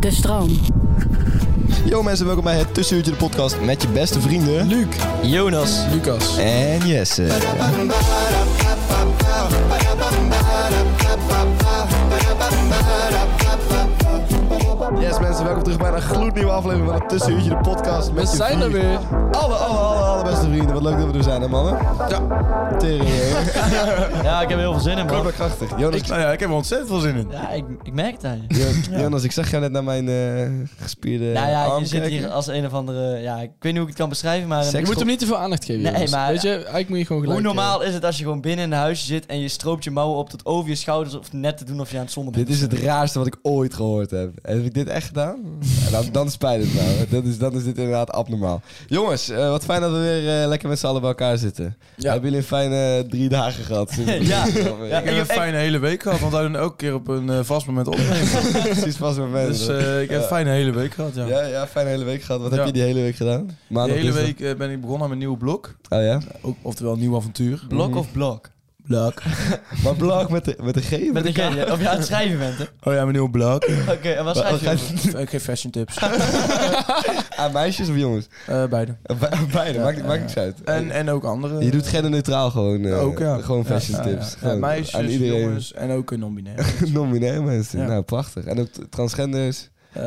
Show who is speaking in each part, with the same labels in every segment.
Speaker 1: De stroom.
Speaker 2: Yo mensen, welkom bij het Tussenuurtje de podcast met je beste vrienden...
Speaker 3: Luc.
Speaker 2: Jonas.
Speaker 3: Lucas.
Speaker 2: En Jesse. Yes mensen, welkom terug bij een gloednieuwe aflevering van het Tussenuurtje de podcast.
Speaker 3: We
Speaker 2: Met je
Speaker 3: zijn er
Speaker 2: vrienden.
Speaker 3: weer.
Speaker 2: Alle, alle, alle, alle beste vrienden. Wat leuk dat we er zijn hè mannen.
Speaker 3: Ja.
Speaker 2: Tering hè.
Speaker 4: Ja, ik heb er heel veel zin in,
Speaker 2: Ook
Speaker 4: bro.
Speaker 2: wel krachtig. Jonas,
Speaker 3: Nou ja, ik heb er ontzettend veel zin in.
Speaker 4: Ja, ik, ik merk het aan je.
Speaker 2: Jo- Jonas, ik zag jou net naar mijn eh, gespierde
Speaker 4: Nou ja,
Speaker 2: arm
Speaker 4: je zit
Speaker 2: kijken.
Speaker 4: hier als een of andere... Ja, ik weet niet hoe ik het kan beschrijven, maar...
Speaker 2: Seks-
Speaker 3: Je moet hem niet te veel aandacht geven.
Speaker 4: Nee,
Speaker 3: jongens.
Speaker 4: maar-
Speaker 3: Weet je, eigenlijk moet je gewoon gelijk...
Speaker 4: Hoe
Speaker 1: eh,
Speaker 4: normaal is het als je gewoon binnen in een huisje zit en je stroopt je mouwen op tot over je schouders of net te doen of je aan het zon
Speaker 2: Dit is het raarste wat ik ooit gehoord heb. Heb ik dit echt gedaan? Ja, dan, dan spijt het nou. Dat is, dan is dit inderdaad abnormaal. Jongens, eh, wat fijn dat we weer eh, lekker met z'n allen bij elkaar zitten.
Speaker 3: Ja.
Speaker 2: Hebben jullie een fijne eh, drie dagen gehad? sinds-
Speaker 4: Ja.
Speaker 2: ja.
Speaker 3: Ik heb een fijne hele week gehad, want wij doen elke keer op een eh, vast moment opnemen.
Speaker 2: Precies pas met mensen.
Speaker 3: dus eh, ik heb een fijne hele week gehad, ja.
Speaker 2: ja, ja, fijne hele week gehad. Wat
Speaker 3: Ja.
Speaker 2: heb je die hele week gedaan?
Speaker 3: De
Speaker 2: Maandag,
Speaker 3: hele
Speaker 2: dinsdag?
Speaker 3: week eh, ben ik begonnen aan mijn nieuwe blog.
Speaker 2: Oh ja?
Speaker 3: Ook, oftewel een nieuw avontuur.
Speaker 4: Blok
Speaker 2: Mhm.
Speaker 4: of blok?
Speaker 3: Blog.
Speaker 2: Maar blog met de, met de G? of
Speaker 4: Met
Speaker 2: de
Speaker 4: een
Speaker 2: K?
Speaker 4: G, ja. Of je aan het schrijven bent, hè?
Speaker 3: Oh ja, mijn nieuwe blog.
Speaker 4: Oké, en wat
Speaker 2: Wa-
Speaker 4: schrijf je?
Speaker 2: ga-
Speaker 4: over?
Speaker 3: ik geef fashion tips.
Speaker 2: Aan Ah, meisjes of jongens?
Speaker 3: Eh, beide.
Speaker 2: Bij- Beide, maakt, maakt niks uit.
Speaker 3: En, en ook andere.
Speaker 2: je doet genderneutraal gewoon. eh,
Speaker 3: ook, ja.
Speaker 2: Gewoon
Speaker 3: Ja,
Speaker 2: fashion
Speaker 3: ja,
Speaker 2: tips.
Speaker 3: ja.
Speaker 2: Gewoon
Speaker 3: meisjes,
Speaker 2: aan iedereen.
Speaker 3: jongens en ook een non-binair.
Speaker 2: Non-binair mensen.
Speaker 3: Ja.
Speaker 2: Nou, prachtig. En ook t- transgenders.
Speaker 3: Eh,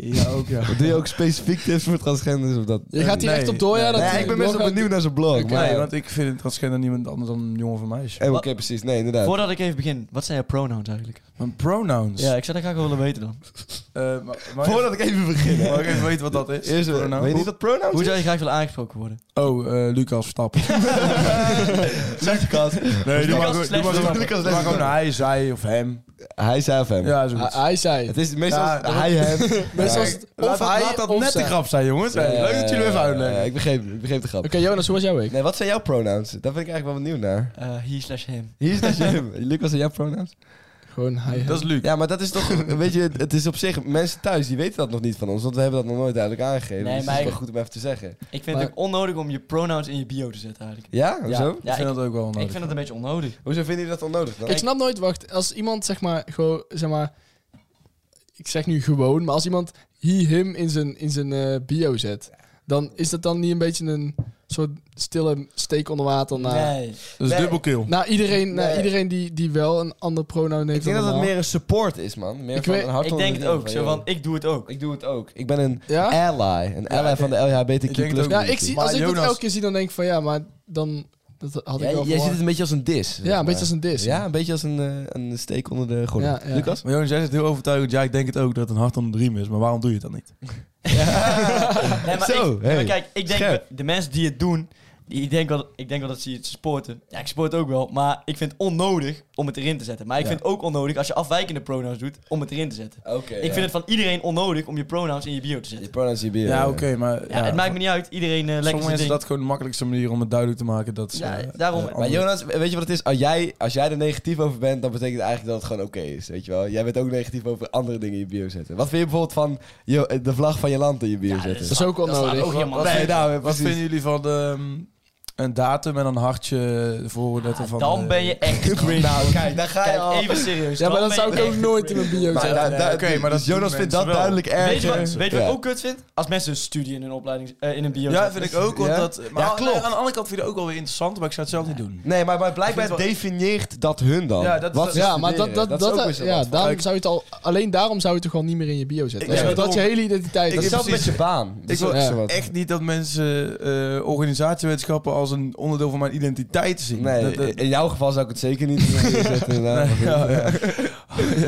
Speaker 3: ja, ook ja.
Speaker 2: Doe je ook specifiek tips voor transgenders? Of dat?
Speaker 1: Je gaat hier
Speaker 3: Nee.
Speaker 1: echt op door, ja?
Speaker 3: Nee,
Speaker 1: Dat
Speaker 2: Nee, ik ben best wel benieuwd naar zijn blog. maar...
Speaker 3: Nee, want ik vind transgender niemand anders dan een jongen van meisje.
Speaker 2: Eh, Oké, precies. Nee, inderdaad.
Speaker 4: Voordat ik even begin, wat zijn jouw pronouns eigenlijk?
Speaker 3: Mijn pronouns.
Speaker 4: Ja, ik zou dat graag wel willen weten dan.
Speaker 3: Eh, maar, maar
Speaker 2: Voordat ik even begin. hè.
Speaker 3: Mag ik even weten wat dat is?
Speaker 2: Eerst, eh,
Speaker 3: Pronoun?
Speaker 2: weet je niet wat pronouns
Speaker 4: Hoe zou je graag willen aangesproken worden?
Speaker 3: Oh, eh, Lucas Verstappen.
Speaker 2: Zeg ik al.
Speaker 4: Lucas
Speaker 3: Nee, doe maar gewoon- doe maar
Speaker 4: slash-
Speaker 3: gewoon-
Speaker 2: Lucas
Speaker 3: doe maar gewoon hij, zij of hem.
Speaker 2: Hij zei of hem.
Speaker 3: Ja, is
Speaker 1: Hij
Speaker 3: goed.
Speaker 1: Ah, hij zei.
Speaker 2: Het is meestal
Speaker 3: Ja, dat-
Speaker 2: hij, hem.
Speaker 1: Meestal is
Speaker 2: Ja,
Speaker 1: het of hij
Speaker 3: laat dat
Speaker 1: of
Speaker 3: net
Speaker 1: zij.
Speaker 3: de grap zijn, jongens. Hey,
Speaker 2: eh,
Speaker 3: leuk dat jullie even
Speaker 2: eh,
Speaker 3: uitleggen.
Speaker 2: Ik begreep, ik begreep de grap.
Speaker 1: Oké, Jonas, hoe was jouw week?
Speaker 2: Nee, wat zijn jouw pronouns? Daar ben ik eigenlijk wel benieuwd naar.
Speaker 4: Eh he slash him.
Speaker 2: Hier is dat je... Lucas, zijn jouw pronouns?
Speaker 1: Gewoon hij.
Speaker 3: Dat is Luc.
Speaker 2: Ja, maar dat is toch... Weet je, het is op zich... Mensen thuis, die weten dat nog niet van ons. Want we hebben dat nog nooit duidelijk aangegeven.
Speaker 4: Nee,
Speaker 2: dus
Speaker 4: maar
Speaker 2: het is
Speaker 4: ik-
Speaker 2: wel goed om even te zeggen.
Speaker 4: Ik vind
Speaker 1: Maar-
Speaker 4: het ook onnodig om je pronouns in je bio te zetten eigenlijk.
Speaker 2: Ja? Hoezo?
Speaker 4: Ja,
Speaker 3: Oh, ik
Speaker 4: ja
Speaker 3: vind
Speaker 4: ik,
Speaker 3: dat ook wel
Speaker 4: ik
Speaker 3: nodig.
Speaker 4: vind dat een beetje onnodig.
Speaker 2: Hoezo vinden jullie dat onnodig dan?
Speaker 1: Ik snap nooit, wacht, als iemand zeg maar gewoon, zeg maar, ik zeg nu gewoon, maar als iemand he, him in zijn, in zijn eh, bio zet, dan is dat dan niet een beetje een soort stille steek onder water naar,
Speaker 4: Nee.
Speaker 3: Dat is
Speaker 2: Nee.
Speaker 3: dubbel kill.
Speaker 1: naar iedereen, naar
Speaker 2: Nee.
Speaker 1: iedereen die, die wel een ander pronoun neemt
Speaker 2: Ik denk
Speaker 1: dan
Speaker 2: dat het
Speaker 1: normaal.
Speaker 2: meer een support is, man. Meer
Speaker 1: Ik
Speaker 2: van
Speaker 1: weet-
Speaker 2: een hart
Speaker 4: Ik
Speaker 2: onder
Speaker 4: denk
Speaker 2: de
Speaker 4: het
Speaker 2: riem
Speaker 4: ook
Speaker 2: van,
Speaker 4: zo,
Speaker 2: joh,
Speaker 4: want ik doe het ook.
Speaker 2: Ik doe het ook. Ik ben een
Speaker 1: Ja?
Speaker 2: ally. Een ally
Speaker 3: ik-
Speaker 2: van de LHBTQ+.
Speaker 3: ik denk het ook.
Speaker 1: Ja, ik zie, als
Speaker 3: Maar
Speaker 1: ik dat
Speaker 3: Jonas-
Speaker 1: elke keer zie, dan denk ik van ja, maar dan, dat had ik
Speaker 2: Jij, jij
Speaker 1: wel
Speaker 2: ziet het
Speaker 1: verwacht.
Speaker 2: een beetje als een dis. zeg
Speaker 1: Ja,
Speaker 2: maar.
Speaker 1: een beetje als een dis.
Speaker 2: Ja, een beetje als een, eh, een steek onder de gordel.
Speaker 1: Ja, ja.
Speaker 2: Lucas?
Speaker 3: Maar jongens, jij zit heel overtuigend. Ja, ik denk het ook dat het een hart onder de riem is. Maar waarom doe je het dan niet?
Speaker 4: Nee, maar
Speaker 2: Zo,
Speaker 4: ik, nee, maar
Speaker 2: hey.
Speaker 4: kijk, ik denk
Speaker 2: Scherp.
Speaker 4: de mensen die het doen, die, ik, denk wel, ik denk wel dat ze het sporten. Ja, ik sport ook wel, maar ik vind het onnodig om het erin te zetten. Maar ik
Speaker 3: Ja.
Speaker 4: vind het ook onnodig als je afwijkende pronouns doet om het erin te zetten.
Speaker 2: Oké.
Speaker 4: Ik vind het van iedereen onnodig om je pronouns in je bio te
Speaker 2: Je
Speaker 4: zetten.
Speaker 2: pronouns je bier.
Speaker 3: Ja, oké, maar...
Speaker 4: Ja, het maakt me niet uit, iedereen eh lekker
Speaker 3: Sommige
Speaker 4: zijn
Speaker 3: mensen
Speaker 4: ding.
Speaker 3: dat gewoon de makkelijkste manier om het duidelijk te maken. Dat ze,
Speaker 4: Ja,
Speaker 3: eh,
Speaker 4: daarom.
Speaker 3: eh,
Speaker 4: Maar
Speaker 2: Maar
Speaker 3: andere-
Speaker 2: Jonas, weet je wat het is? Als jij, als jij er negatief over bent, dan betekent het eigenlijk dat het gewoon oké is. Weet je wel? Jij bent ook negatief over andere dingen in je bio zetten. Wat vind je bijvoorbeeld van je, de vlag van je land in je bio
Speaker 4: Ja, dat
Speaker 2: zetten?
Speaker 1: Dat is ook wel
Speaker 4: Dat slaat
Speaker 1: nodig.
Speaker 4: ook helemaal
Speaker 3: Wat-
Speaker 4: nergens
Speaker 2: nee,
Speaker 4: op.
Speaker 2: nou,
Speaker 3: Wat
Speaker 2: precies.
Speaker 3: vinden jullie van de, ehm, een datum en een hartje voor dat er van...
Speaker 4: dan
Speaker 3: eh,
Speaker 4: ben je echt cringe.
Speaker 2: Nou, kijk, daar ga je
Speaker 4: Kijk,
Speaker 2: al.
Speaker 4: even serieus.
Speaker 1: Ja, maar
Speaker 4: dan
Speaker 1: dat zou
Speaker 4: ben
Speaker 1: ik
Speaker 4: je
Speaker 1: ook
Speaker 4: echt
Speaker 1: nooit in mijn bio
Speaker 2: Maar
Speaker 1: zetten.
Speaker 2: daar- daar-
Speaker 3: oké, maar dat
Speaker 2: dus Jonas
Speaker 3: doen
Speaker 2: vindt dat
Speaker 3: mensen wel.
Speaker 2: duidelijk erg.
Speaker 4: Weet je wat, weet je wat
Speaker 2: Ja.
Speaker 4: ik ook kut vind? Als mensen een studie in hun opleiding eh, in een bio
Speaker 3: Ja,
Speaker 4: zetten.
Speaker 3: vind ik ook. Want
Speaker 2: Ja?
Speaker 3: dat, maar
Speaker 2: Ja,
Speaker 3: aan-
Speaker 2: klopt.
Speaker 3: aan de andere kant vind ik het ook wel weer interessant, maar ik zou het zelf niet doen.
Speaker 2: Nee, maar, maar
Speaker 3: Ik
Speaker 2: blijkbaar
Speaker 3: vind het
Speaker 2: definieert dat hun dan.
Speaker 3: Ja, dat is-
Speaker 2: Wat ze
Speaker 1: Ja, maar dat,
Speaker 2: studeren.
Speaker 1: dat,
Speaker 2: is
Speaker 1: dat,
Speaker 2: ook weer zo
Speaker 1: ja,
Speaker 2: wat.
Speaker 1: daarom
Speaker 3: Ik-
Speaker 1: zou je het al, alleen daarom zou je het toch wel niet meer in je bio zetten.
Speaker 3: Ik-
Speaker 1: Dat is-
Speaker 3: ja,
Speaker 1: dat is je hele identiteit.
Speaker 2: Dat
Speaker 3: Ik-
Speaker 2: is zelfs met
Speaker 3: precies.
Speaker 2: je baan. Dat
Speaker 3: Ik
Speaker 2: is ook
Speaker 1: wil-
Speaker 2: zo wat.
Speaker 3: Echt niet dat mensen eh, organisatiewetenschappen als een onderdeel van mijn identiteit zien.
Speaker 2: Nee,
Speaker 3: Dat- dat-
Speaker 2: in jouw geval zou ik het zeker niet in mijn bio zetten. inderdaad. Maar goed.
Speaker 3: ja, ja.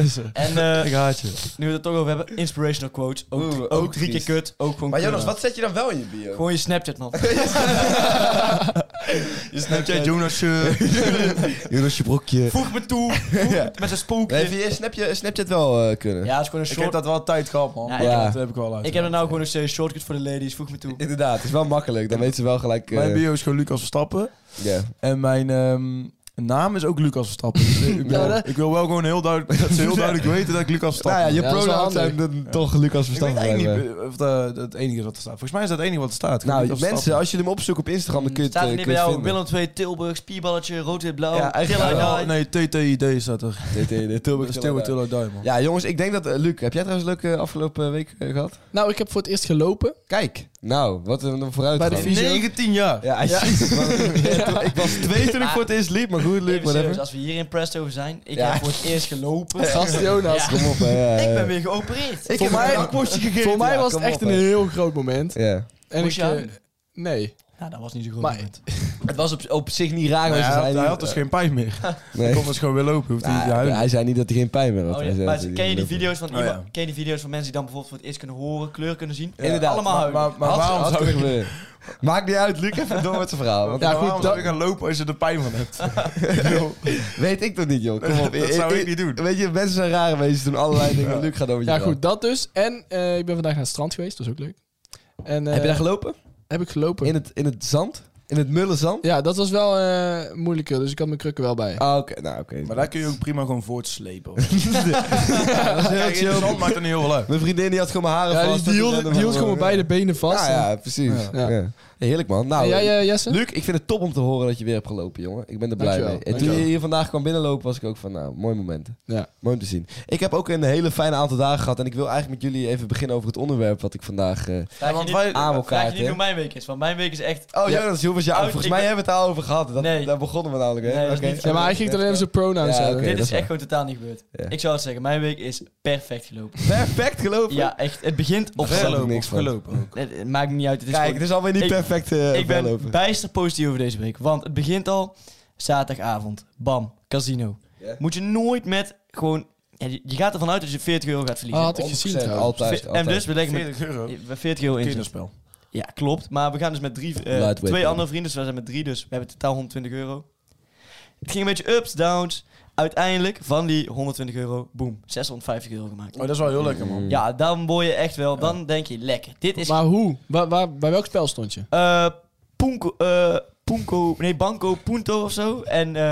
Speaker 3: Yes.
Speaker 4: En eh,
Speaker 3: Ik haat je.
Speaker 4: nu we het er toch over hebben, inspirational quotes. Ook,
Speaker 2: Oeh,
Speaker 4: ook,
Speaker 2: ook
Speaker 4: drie keer
Speaker 2: triest.
Speaker 4: kut. Ook gewoon
Speaker 2: Maar
Speaker 4: kut.
Speaker 2: Jonas, wat zet je dan wel in je bio?
Speaker 4: Gewoon je Snapchat, man.
Speaker 3: Je Snapchat, Jonas. eh,
Speaker 2: Jonas, je brokje.
Speaker 4: Voeg me toe. voeg me- Met een spookje.
Speaker 2: Nee, vind je Snapchat, Snapchat wel eh, kunnen?
Speaker 4: Ja, het is gewoon een
Speaker 3: ik heb
Speaker 4: short.
Speaker 3: dat wel tijd gehad, man.
Speaker 4: Ja,
Speaker 3: Ja,
Speaker 4: ik
Speaker 2: heb-
Speaker 3: Dat heb ik wel uit.
Speaker 4: Ik heb er nou gewoon nog steeds shortcut voor de ladies. Voeg me toe.
Speaker 2: Inderdaad, het is wel makkelijk. Dan weten ze wel gelijk... eh,
Speaker 3: Mijn bio is gewoon Lucas Verstappen.
Speaker 2: ja.
Speaker 3: En mijn ehm, naam is ook Lucas Verstappen. Dus ik, wil,
Speaker 1: dat-
Speaker 3: ik wil wel gewoon heel duidelijk, dat ze heel duidelijk weten dat ik Lucas Verstappen
Speaker 2: Nou ja, je
Speaker 3: ben.
Speaker 1: dat is wel
Speaker 2: pronouns
Speaker 1: handig.
Speaker 2: zijn dan toch Lucas
Speaker 3: Ik weet
Speaker 2: Verstappen.
Speaker 3: eigenlijk
Speaker 2: blijkbaar.
Speaker 3: niet eh, of dat dat het enige is wat er staat. Volgens mij is dat het enige wat er staat.
Speaker 2: Nou,
Speaker 3: Lucas
Speaker 2: mensen,
Speaker 3: Verstappen.
Speaker 2: als jullie hem opzoeken op Instagram, dan kun je het,
Speaker 4: Staat er
Speaker 2: eh,
Speaker 4: niet bij
Speaker 2: kun je het
Speaker 4: jou Willem 2, Tilburg, spierballetje, rood, wit, blauw.
Speaker 2: Ja, eigenlijk
Speaker 4: Till I
Speaker 2: wel.
Speaker 4: die.
Speaker 3: Nee, TTID staat er.
Speaker 2: vinden. TT, Tilburg
Speaker 3: Stilbert
Speaker 2: Tilburg.
Speaker 3: Tillo Diamond.
Speaker 2: Ja, jongens, ik denk dat... eh, Luc, heb jij trouwens een leuke afgelopen week eh, gehad?
Speaker 1: Nou, ik heb voor het eerst gelopen.
Speaker 2: Kijk. Nou, wat een
Speaker 1: Bij
Speaker 2: vooruitgang.
Speaker 1: de
Speaker 2: Bij
Speaker 1: fi- Fysio.
Speaker 3: 19 jaar.
Speaker 2: ja, jezus, man. Ja, Ik was twee toen ik voor het eerst liep, maar goed, Luc,
Speaker 4: Even serieus,
Speaker 2: whatever.
Speaker 4: als we hier in Presto over zijn. Ik
Speaker 2: Ja.
Speaker 4: heb voor het eerst gelopen.
Speaker 1: Gast Jonas.
Speaker 4: Ja.
Speaker 2: Kom op, hè.
Speaker 4: Ik ben weer geopereerd.
Speaker 2: Ik
Speaker 1: Voor
Speaker 2: heb
Speaker 1: mij-
Speaker 2: een hakworstje gegeten.
Speaker 1: Voor mij
Speaker 2: Ja,
Speaker 1: was het
Speaker 2: kom
Speaker 1: echt
Speaker 2: op,
Speaker 1: een
Speaker 2: hè.
Speaker 1: heel groot moment.
Speaker 2: Ja.
Speaker 1: En
Speaker 4: Moest
Speaker 1: ik,
Speaker 4: je
Speaker 1: eh,
Speaker 4: aan?
Speaker 1: nee.
Speaker 4: Nou, dat was niet zo goed.
Speaker 1: Maar-
Speaker 4: moment.
Speaker 2: Het was op, op zich niet raar.
Speaker 3: Nee,
Speaker 2: maar ze
Speaker 3: hij, had,
Speaker 2: zei
Speaker 3: hij
Speaker 2: niet-
Speaker 3: had dus geen pijn meer.
Speaker 2: Nee.
Speaker 3: Hij kon dus gewoon weer lopen. Hoefde niet
Speaker 2: Nou,
Speaker 3: te huilen.
Speaker 2: hij zei niet dat hij geen pijn meer had.
Speaker 4: Oh,
Speaker 2: Hij
Speaker 4: ja.
Speaker 2: zei
Speaker 4: Maar
Speaker 2: dat hij
Speaker 4: ken je, die
Speaker 2: niet lopen.
Speaker 4: video's van
Speaker 3: Oh, ja.
Speaker 4: iemand, ken je die video's van mensen die dan bijvoorbeeld voor het eerst kunnen horen, kleur kunnen zien?
Speaker 2: Ja. Inderdaad.
Speaker 4: Allemaal
Speaker 2: Maar-
Speaker 4: huilen.
Speaker 3: Maar, maar
Speaker 2: Had-
Speaker 3: waarom
Speaker 2: had
Speaker 3: zou ik...
Speaker 2: kunnen gebeuren. Maakt niet uit, Luc, even door met zijn verhaal. Want
Speaker 3: Ja,
Speaker 1: goed,
Speaker 3: waarom zou
Speaker 1: dat-
Speaker 3: je gaan lopen als je er pijn van hebt?
Speaker 2: Weet ik toch niet, joh. Kom op.
Speaker 3: Dat zou ik niet doen.
Speaker 2: Weet je, mensen zijn rare mensen, doen allerlei dingen. Luc gaat over je
Speaker 1: Ja,
Speaker 2: verhaal.
Speaker 1: goed, dat dus. En eh, ik ben vandaag naar het strand geweest, dat is ook leuk. En, eh,
Speaker 2: Heb je daar gelopen?
Speaker 1: heb ik gelopen.
Speaker 2: In het, in het zand? In het mullenzand?
Speaker 1: Ja, dat was wel eh, moeilijker, dus ik had mijn krukken wel bij.
Speaker 2: Ah, oké. Nou, oké.
Speaker 3: Maar daar kun je ook prima gewoon voortslepen.
Speaker 2: dat is heel
Speaker 3: Kijk, in de
Speaker 2: chill.
Speaker 3: zand maakt er niet heel veel uit.
Speaker 2: Mijn vriendin die had gewoon mijn haren
Speaker 1: ja, die,
Speaker 2: vast.
Speaker 1: die hield, die hield gewoon beide benen vast.
Speaker 2: Ja, ja, precies.
Speaker 1: Ja.
Speaker 2: Ja. Heerlijk, man. Nou,
Speaker 1: en jij, eh, Jesse?
Speaker 2: Luc, ik vind het top om te horen dat je weer hebt gelopen, jongen. Ik ben er blij
Speaker 1: Dankjewel.
Speaker 2: mee. En toen
Speaker 1: Dankjewel.
Speaker 2: je hier vandaag kwam binnenlopen, was ik ook van, nou, mooi momenten.
Speaker 1: Ja.
Speaker 2: Mooi om te zien. Ik heb ook een hele fijne aantal dagen gehad. En ik wil eigenlijk met jullie even beginnen over het onderwerp wat ik vandaag eh
Speaker 4: Vraag je
Speaker 3: want
Speaker 4: niet-
Speaker 3: wij-
Speaker 2: aan
Speaker 4: Vraag je
Speaker 2: elkaar
Speaker 4: niet hoe
Speaker 2: heb.
Speaker 4: mijn week is, want mijn week is echt...
Speaker 2: Oh, ja. Jonas, Jonas, ja,
Speaker 4: Oh,
Speaker 2: volgens
Speaker 4: ik-
Speaker 2: mij hebben we het daarover gehad. Dat,
Speaker 4: Nee.
Speaker 2: Daar begonnen we namelijk. Hè?
Speaker 4: Nee, dat is
Speaker 2: Oké.
Speaker 4: niet-
Speaker 1: Ja, maar hij ging het alleen om zijn pronouns
Speaker 2: Ja,
Speaker 1: hebben.
Speaker 2: oké.
Speaker 4: dit
Speaker 2: dat
Speaker 4: is
Speaker 2: is
Speaker 4: echt
Speaker 2: waar.
Speaker 4: gewoon totaal niet gebeurd.
Speaker 2: Ja.
Speaker 4: Ik zou het zeggen, mijn week is perfect gelopen.
Speaker 2: Perfect gelopen.
Speaker 4: Ja, echt. Het begint op
Speaker 2: Perfect.
Speaker 4: gelopen.
Speaker 2: ik niks
Speaker 3: of
Speaker 2: van.
Speaker 3: gelopen ook.
Speaker 4: Het, het maakt me niet uit. Het is
Speaker 2: Kijk,
Speaker 4: gewoon-
Speaker 2: het is alweer niet
Speaker 4: Ik-
Speaker 2: perfect eh
Speaker 4: ik ben
Speaker 2: lopen.
Speaker 4: bijster positief over deze week. Want het begint al zaterdagavond. Bam, casino.
Speaker 2: Ja.
Speaker 4: Moet je nooit met gewoon... ja, je je gaat ervan uit dat je 40 euro gaat
Speaker 1: Ah,
Speaker 4: verliezen.
Speaker 1: had ik gezien
Speaker 2: 100%,
Speaker 1: trouwens.
Speaker 2: Altijd,
Speaker 4: en
Speaker 2: altijd.
Speaker 4: dus we leggen met
Speaker 3: 40 euro.
Speaker 4: eh, 40 euro in.
Speaker 3: Kinderspel.
Speaker 4: Ja, klopt. Maar we gaan dus met drie, eh,
Speaker 2: Lightweight,
Speaker 4: twee
Speaker 2: man.
Speaker 4: andere vrienden. Dus we zijn met drie, dus we hebben totaal 120 euro. Het ging een beetje ups, downs. Uiteindelijk van die 120 euro, boem, 650 euro gemaakt.
Speaker 3: Oh, dat is wel heel lekker, man.
Speaker 2: Mm.
Speaker 4: Ja, dan word je echt wel, dan denk je lekker. Dit is
Speaker 1: Maar hoe? Waar, waar, bij welk spel stond je?
Speaker 4: eh Punko, eh, Punko, nee, Banco Punto of zo. En eh,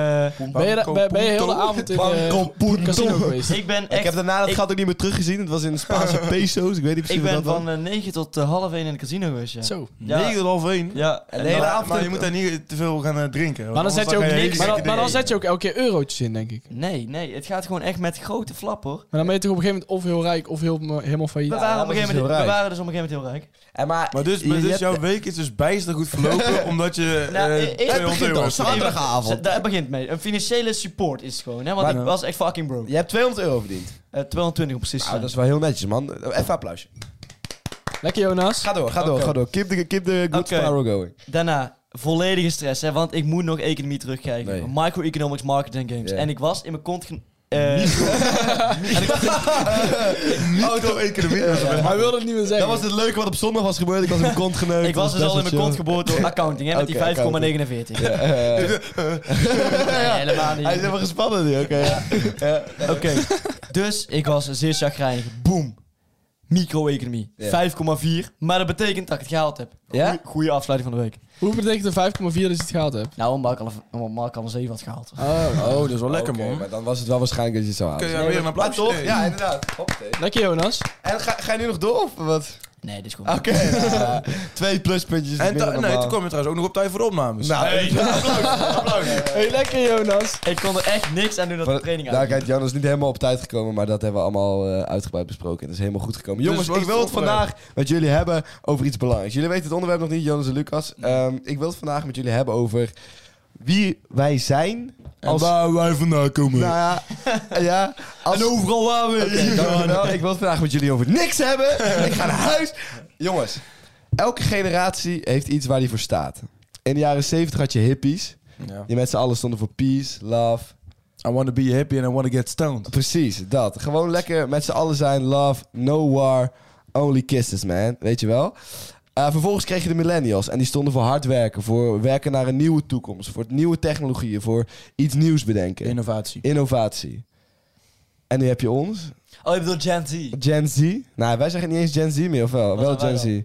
Speaker 1: Ben je, da- ben, ben je heel de
Speaker 3: Punto.
Speaker 1: avond in eh,
Speaker 2: Banco Punto.
Speaker 1: casino geweest?
Speaker 4: ik ben
Speaker 2: Ik heb
Speaker 4: echt,
Speaker 2: daarna dat
Speaker 4: ik-
Speaker 2: gat ook niet meer teruggezien. Het was in Spaanse peso's. Ik weet niet precies
Speaker 4: ik
Speaker 2: wat
Speaker 4: ben
Speaker 2: dat was.
Speaker 4: van eh, 9 tot eh, half 1 in het casino geweest, ja.
Speaker 1: Zo.
Speaker 4: Ja.
Speaker 3: 9,5 1.
Speaker 4: Ja, en
Speaker 2: hele
Speaker 4: dan-
Speaker 2: avond
Speaker 3: Maar je
Speaker 2: ook.
Speaker 3: moet daar niet te veel gaan eh, drinken. want
Speaker 1: Maar dan,
Speaker 3: anders
Speaker 1: zet je ook
Speaker 3: ga
Speaker 4: niks-
Speaker 3: hele
Speaker 1: maar, dan,
Speaker 3: gekke
Speaker 1: maar dan
Speaker 3: dingen
Speaker 1: zet je ook elke keer eurotjes in, denk ik.
Speaker 4: Nee, nee, het gaat gewoon echt met grote flap, hoor.
Speaker 1: Maar dan ben je toch op een gegeven moment of heel rijk of heel, helemaal failliet.
Speaker 4: We,
Speaker 2: Ja,
Speaker 4: waren, op een
Speaker 2: anders
Speaker 4: gegeven
Speaker 2: is het heel
Speaker 4: moment, we
Speaker 2: rijk.
Speaker 4: waren dus op een gegeven moment heel rijk.
Speaker 2: En maar,
Speaker 3: Maar dus, maar
Speaker 2: je
Speaker 3: dus
Speaker 2: hebt-
Speaker 3: jouw week is dus bijster goed verlopen, omdat je
Speaker 4: Nou,
Speaker 3: eh,
Speaker 4: eh, het
Speaker 3: 200
Speaker 2: begint
Speaker 3: euro
Speaker 2: al,
Speaker 3: hebt.
Speaker 2: zaterdag. Zaterdagavond.
Speaker 4: Zet- Daar begint mee. Een financiële support is het gewoon, hè? Want
Speaker 3: Maar-
Speaker 4: ik was echt fucking broke.
Speaker 2: je hebt 200 euro verdiend.
Speaker 4: Eh, 220 om precies te
Speaker 2: Nou,
Speaker 4: zijn.
Speaker 2: dat is wel heel netjes, man. Even applausje.
Speaker 1: Lekker, Jonas.
Speaker 2: Ga door, ga door,
Speaker 4: Oké.
Speaker 2: ga door. Keep the, keep the good
Speaker 4: Oké.
Speaker 2: spiral going.
Speaker 4: Daarna volledige stress, hè? Want ik moet nog economie terugkijken.
Speaker 2: Nee.
Speaker 4: Microeconomics, marketing games.
Speaker 2: Ja.
Speaker 4: En ik was in mijn kont... gen- eh,
Speaker 2: Auto-economie.
Speaker 1: Hij wilde het niet meer
Speaker 2: Dat
Speaker 1: zeggen.
Speaker 2: was het leuke wat op zondag was gebeurd. Ik was in mijn kont geneukt.
Speaker 4: Ik was dus al in mijn kont geboord door accounting, hè, met
Speaker 2: Oké, accounting.
Speaker 4: die 5,49.
Speaker 2: geboren.
Speaker 4: Nee, helemaal
Speaker 2: Hij
Speaker 4: niet.
Speaker 2: is helemaal gespannen nu, oké. Ja.
Speaker 4: Oké, dus ik was zeer chagrijnig. Boom. Micro-economie.
Speaker 2: Ja.
Speaker 4: 5,4. Maar dat betekent dat ik het gehaald heb.
Speaker 2: Ja?
Speaker 4: Goeie- Goeie afsluiting van de week.
Speaker 1: Hoe betekent een 5,4 dat je het gehaald hebt?
Speaker 4: Nou, omdat ik al een- omdat ik al een 7 had gehaald.
Speaker 3: Oh, dat is wel lekker,
Speaker 2: Oké,
Speaker 3: man.
Speaker 2: Maar dan was het wel waarschijnlijk dat je het zou
Speaker 3: Kun
Speaker 2: halen.
Speaker 3: je weer een
Speaker 2: Maar
Speaker 3: applaus
Speaker 2: toch? Ja, inderdaad. Hoppatee.
Speaker 1: Lekker, Jonas.
Speaker 2: En ga, ga je nu nog door of wat?
Speaker 4: Nee, dit is gewoon...
Speaker 2: Oké, nou, twee pluspuntjes.
Speaker 3: En
Speaker 2: minder
Speaker 3: ta-
Speaker 2: dan
Speaker 3: nee, toen
Speaker 2: normaal.
Speaker 3: kwam je trouwens ook nog op tijd voor de opnames.
Speaker 2: Nou,
Speaker 3: Hey, applaus, applaus.
Speaker 1: hey, lekker Jonas.
Speaker 4: Ah, Ik kon er echt niks aan doen dat
Speaker 2: Maar
Speaker 4: de training
Speaker 2: Daar
Speaker 4: uit.
Speaker 2: kijkt nou, Jan is niet helemaal op tijd gekomen, maar dat hebben we allemaal eh, uitgebreid besproken. En dat is helemaal goed gekomen.
Speaker 3: Dus
Speaker 2: Jongens,
Speaker 3: wat
Speaker 2: ik
Speaker 3: is
Speaker 2: wil
Speaker 3: het
Speaker 2: het vandaag met jullie hebben over iets belangrijks. Jullie weten het onderwerp nog niet, Jonas en Lucas. Ehm, ik wil het vandaag met jullie hebben over wie wij zijn. Als, nou
Speaker 3: waar wij vandaan komen.
Speaker 2: ja, ja als,
Speaker 4: overal waar we...
Speaker 2: Oké, dankjewel. Ik wil het vandaag met jullie over niks hebben. Ik ga naar huis. Jongens, elke generatie heeft iets waar die voor staat. In de jaren 70 had je hippies.
Speaker 3: Ja.
Speaker 2: Die met z'n allen stonden voor peace, love,
Speaker 3: I wanna be happy and I wanna get stoned.
Speaker 2: Precies, dat. Gewoon lekker met z'n allen zijn. Love, no war, only kisses, man. Weet je wel? Eh, vervolgens kreeg je de millennials. En die stonden voor hard werken. Voor werken naar een nieuwe toekomst. Voor nieuwe technologieën. Voor iets nieuws bedenken.
Speaker 3: Innovatie.
Speaker 2: Innovatie. En nu heb je ons.
Speaker 4: Oh, je bedoelt Gen Z.
Speaker 2: Gen Z. Nou, wij zeggen niet eens Gen Z meer, of wel?
Speaker 4: Wat
Speaker 2: wel
Speaker 4: zijn
Speaker 2: Gen
Speaker 4: wij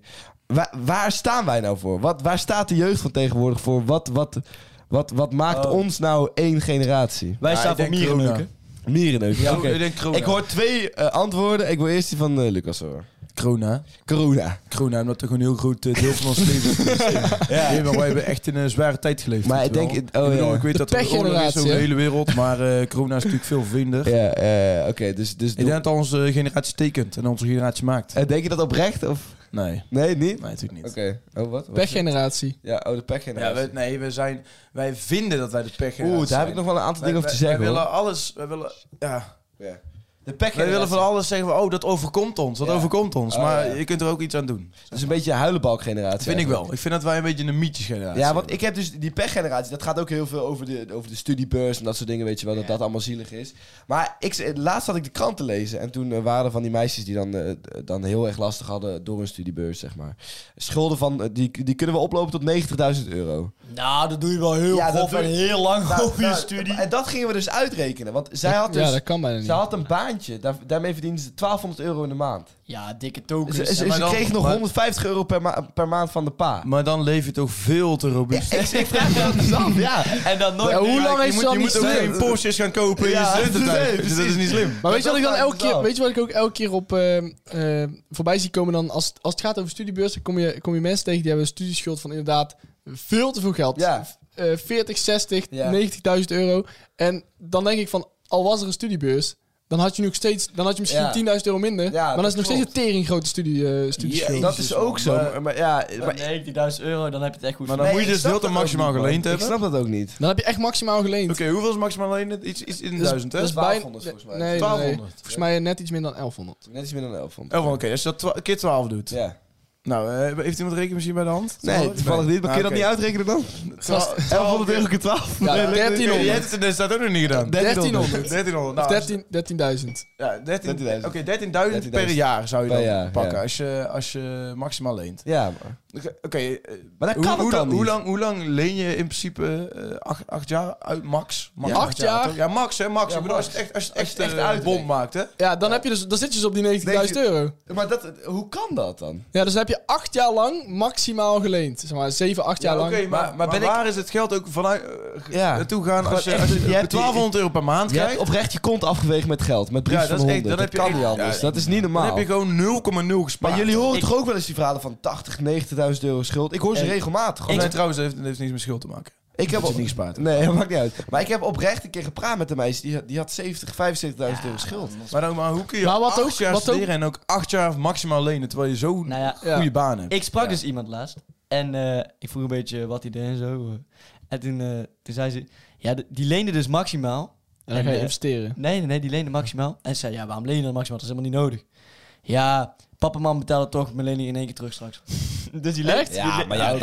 Speaker 2: Z. Wa- waar staan wij nou voor? Wat, waar staat de jeugd van tegenwoordig voor? Wat, wat, wat, wat maakt
Speaker 4: Oh.
Speaker 2: ons nou één generatie?
Speaker 4: Wij
Speaker 3: Ja,
Speaker 4: staan
Speaker 3: ik
Speaker 4: voor
Speaker 3: denk
Speaker 4: mierenneuken.
Speaker 2: Mierenneuk.
Speaker 3: Ja,
Speaker 2: Oké.
Speaker 3: Ik denk corona.
Speaker 2: Ik hoor twee eh, antwoorden. Ik wil eerst die van eh, Lucas horen.
Speaker 3: corona.
Speaker 2: Corona.
Speaker 3: Corona, omdat er gewoon een heel groot eh, deel van ons leven is. Nee, maar wij hebben echt in een zware tijd geleefd.
Speaker 2: Maar
Speaker 3: weet
Speaker 2: ik
Speaker 3: je
Speaker 2: denk-
Speaker 3: wel.
Speaker 2: het- oh,
Speaker 3: ik, bedoel,
Speaker 2: ja.
Speaker 3: ik weet
Speaker 1: De
Speaker 3: dat er oorlog is
Speaker 1: pechgeneratie,
Speaker 3: over de
Speaker 1: hè?
Speaker 3: hele wereld, maar eh, corona is natuurlijk veel verwinder.
Speaker 2: Ja, eh, oké. dus dus
Speaker 3: Ik denk dat onze generatie tekent en onze generatie maakt.
Speaker 2: Eh, denk je dat oprecht? Of...
Speaker 3: Nee,
Speaker 2: Nee, niet?
Speaker 3: nee natuurlijk niet.
Speaker 2: Oké. Oh, wat? Wat?
Speaker 1: Pechgeneratie.
Speaker 2: Ja, oh, de
Speaker 3: Ja,
Speaker 2: pechgeneratie.
Speaker 3: we, nee, we zijn, wij vinden dat wij de pech hebben.
Speaker 2: Oeh, daar heb ik nog wel een aantal dingen over te zeggen,
Speaker 3: Wij
Speaker 2: hoor.
Speaker 3: willen alles, wij willen, ja.
Speaker 2: Ja.
Speaker 3: De pech wij willen van alles zeggen, van, oh, dat overkomt ons, dat
Speaker 2: Ja.
Speaker 3: overkomt ons.
Speaker 2: Oh,
Speaker 3: maar
Speaker 2: ja.
Speaker 3: je kunt er ook iets aan doen.
Speaker 2: Het is een beetje een huilenbalkgeneratie.
Speaker 3: Dat vind ik
Speaker 2: eigenlijk.
Speaker 3: wel. Ik vind dat wij een beetje een mietjesgeneratie
Speaker 2: Ja, want ik heb dus die pechgeneratie. Dat gaat ook heel veel over de, over de studiebeurs en dat soort dingen, weet je wel. Dat dat allemaal zielig is. Maar ik, eh, laatst had ik de krant te lezen. En toen eh, waren er van die meisjes die dan, eh, dan heel erg lastig hadden door hun studiebeurs, zeg maar. Schulden van, eh, die, die kunnen we oplopen tot 90.000 euro.
Speaker 4: Nou, dat doe je wel heel
Speaker 2: Ja, dat
Speaker 4: grof
Speaker 2: doe
Speaker 4: en
Speaker 2: je-
Speaker 4: heel lang over je
Speaker 2: Nou,
Speaker 4: studie.
Speaker 2: En dat gingen we dus uitrekenen. Want zij had dus...
Speaker 1: ja, dat kan bijna niet.
Speaker 2: Ze had een baantje, daar, daarmee verdiende ze 1200 euro in de maand.
Speaker 4: Ja, dikke
Speaker 2: Ze,
Speaker 4: tokens.
Speaker 2: ze, ze
Speaker 4: Ja, maar dan-
Speaker 2: kreeg nog
Speaker 3: maar-
Speaker 2: 150 euro per, ma- per maand van de pa.
Speaker 3: Maar dan leef je toch veel te robuust.
Speaker 2: Ik, ik vraag me dat dus af, ja.
Speaker 4: En dan nooit
Speaker 1: Ja, hoe
Speaker 4: meer-
Speaker 1: lang
Speaker 3: je
Speaker 1: heeft
Speaker 3: moet,
Speaker 1: ze al
Speaker 3: je
Speaker 1: niet
Speaker 3: moet ook
Speaker 1: slim?
Speaker 3: geen Porsches gaan kopen in
Speaker 2: Ja,
Speaker 3: je studententijd.
Speaker 2: nee,
Speaker 3: dus dat
Speaker 2: precies.
Speaker 3: is niet slim.
Speaker 1: Maar weet je,
Speaker 2: Dat
Speaker 1: wat ik dan
Speaker 2: vraag ik dus
Speaker 1: elke
Speaker 2: me
Speaker 1: keer,
Speaker 2: af.
Speaker 1: weet je wat ik ook elke keer op eh, eh, voorbij zie komen? Dan als, als het gaat over studiebeurs, dan kom je, kom je mensen tegen die hebben een studieschuld van inderdaad veel te veel geld.
Speaker 2: Ja.
Speaker 1: Eh, 40, 60,
Speaker 2: Ja.
Speaker 1: 90.000 euro. En dan denk ik van, al was er een studiebeurs, dan had je nog steeds, dan had je misschien
Speaker 2: Ja.
Speaker 1: 10.000 euro minder.
Speaker 2: Ja,
Speaker 1: maar dan is
Speaker 2: dat
Speaker 1: het nog steeds een tering grote studie, eh studieschuld.
Speaker 3: Jezus,
Speaker 2: Dat is ook zo.
Speaker 3: man.
Speaker 2: Maar, maar ja,
Speaker 4: Ja,
Speaker 2: maar-
Speaker 4: 19.000 euro, dan heb je het echt goed
Speaker 3: Maar dan
Speaker 4: verdiend.
Speaker 3: moet je
Speaker 2: ik
Speaker 3: dus
Speaker 2: snap
Speaker 3: heel te
Speaker 2: dat ook
Speaker 3: maximaal
Speaker 2: niet, man.
Speaker 3: geleend
Speaker 2: Ik
Speaker 3: hebben.
Speaker 2: snap dat ook niet.
Speaker 1: Dan heb je echt maximaal geleend.
Speaker 3: Oké, hoeveel is maximaal alleen? Iets, iets in de
Speaker 1: Dat is-
Speaker 3: duizend, hè?
Speaker 1: dat is bijna-
Speaker 2: 1200 volgens mij.
Speaker 1: Nee, nee,
Speaker 3: 1200.
Speaker 1: nee. Volgens mij net iets meer dan 1100.
Speaker 2: Net iets meer dan 1100.
Speaker 3: Oh, oké, als je dat twa- keer 12 doet.
Speaker 2: Ja.
Speaker 3: Nou, eh, heeft iemand een rekenmachine bij de hand? Ah,
Speaker 2: Nee, toevallig niet. Maar kun je dat niet uitrekenen dan?
Speaker 3: Twa-
Speaker 2: 1100 euro keer 12?
Speaker 1: Ja,
Speaker 2: Nee, lukt niet.
Speaker 1: 1300.
Speaker 3: Je hebt het- dat staat ook nog niet gedaan.
Speaker 1: 1300.
Speaker 3: 1300.
Speaker 1: Of
Speaker 3: Nou,
Speaker 1: 13 13.000.
Speaker 3: Ja, 13
Speaker 2: 13.000.
Speaker 3: Oké, 13.000 per
Speaker 2: 13.000.
Speaker 3: jaar zou je
Speaker 2: Per
Speaker 3: dan
Speaker 2: jaar,
Speaker 3: pakken
Speaker 2: ja.
Speaker 3: als, je, als je maximaal leent.
Speaker 2: Ja, maar...
Speaker 3: Oké, oké, eh,
Speaker 2: Maar dat
Speaker 3: hoe,
Speaker 2: kan
Speaker 3: hoe,
Speaker 2: het dan
Speaker 3: lang-
Speaker 2: niet.
Speaker 3: hoe, lang, hoe lang leen je in principe eh, acht, acht jaar uit max? max
Speaker 1: Ja, acht jaar?
Speaker 3: toch? Ja, max hè, max.
Speaker 2: Ja,
Speaker 3: Ik bedoel,
Speaker 2: max.
Speaker 3: als je het echt, als je het
Speaker 2: Als je
Speaker 3: echt,
Speaker 2: het echt
Speaker 3: eh,
Speaker 2: uitrekent.
Speaker 3: bom maakt hè.
Speaker 1: Ja, dan, Heb je dus, dan zit je dus op die 90.000 euro.
Speaker 2: Maar dat, hoe kan dat dan?
Speaker 1: Ja, dus dan heb je acht jaar lang maximaal geleend. Zeg maar, zeven, acht jaar
Speaker 3: Ja,
Speaker 1: lang.
Speaker 3: oké, maar,
Speaker 2: Maar-
Speaker 3: maar,
Speaker 2: maar ben ik-
Speaker 3: waar is het geld ook vanuit eh, ge-
Speaker 2: Ja.
Speaker 3: naartoe gaan
Speaker 2: Gewoon
Speaker 3: als je,
Speaker 2: echt,
Speaker 3: als je,
Speaker 2: je hebt die-
Speaker 3: 1200 euro per maand
Speaker 2: Je hebt
Speaker 3: krijgt?
Speaker 2: oprecht je kont afgewegen met geld. Met briefjes
Speaker 3: Ja, dat
Speaker 2: van
Speaker 3: is
Speaker 2: honden.
Speaker 3: echt- dan
Speaker 2: dat
Speaker 3: heb je
Speaker 2: kan
Speaker 3: echt-
Speaker 2: niet anders.
Speaker 3: ja,
Speaker 2: dat is niet
Speaker 3: Dan
Speaker 2: normaal.
Speaker 3: heb je gewoon 0,0 gespaard.
Speaker 2: maar jullie horen
Speaker 4: Ik-
Speaker 2: toch ook wel eens die verhalen van 80, 90.000 euro schuld? Ik hoor ze
Speaker 4: Ik-
Speaker 2: regelmatig.
Speaker 3: Oh,
Speaker 2: Gewoon.
Speaker 3: nee, trouwens, dat heeft, dat heeft niks met schuld te maken.
Speaker 2: Ik heb
Speaker 3: Dat je
Speaker 2: al-
Speaker 3: niet gespaard hebt.
Speaker 2: Nee, dat maakt niet uit. Maar ik heb oprecht een keer gepraat met een meisje. Die, had- die had 70, 75.000 euro schuld.
Speaker 3: Maar, dan, maar hoe kun je
Speaker 1: Maar wat
Speaker 3: acht
Speaker 1: ook-
Speaker 3: jaar
Speaker 1: wat ook-
Speaker 3: studeren en ook acht jaar maximaal lenen, terwijl je zo'n
Speaker 4: Nou ja,
Speaker 1: Ja.
Speaker 3: goede baan hebt?
Speaker 4: ik sprak dus iemand laatst. En eh, ik vroeg een beetje wat hij deed en zo. eh. En toen, eh, toen zei ze... Ja, de- die leende dus maximaal.
Speaker 1: En dan ga je
Speaker 4: eh,
Speaker 1: investeren.
Speaker 4: Nee, nee, nee, die leende maximaal. En ze zei, ja, waarom leen je dan maximaal? Dat is helemaal niet nodig. Ja, papa en mam betalen toch mijn lening in één keer terug straks. dus die leent, die, le-
Speaker 2: ja,
Speaker 3: Oké,
Speaker 2: ben je
Speaker 3: maar
Speaker 2: wel
Speaker 3: die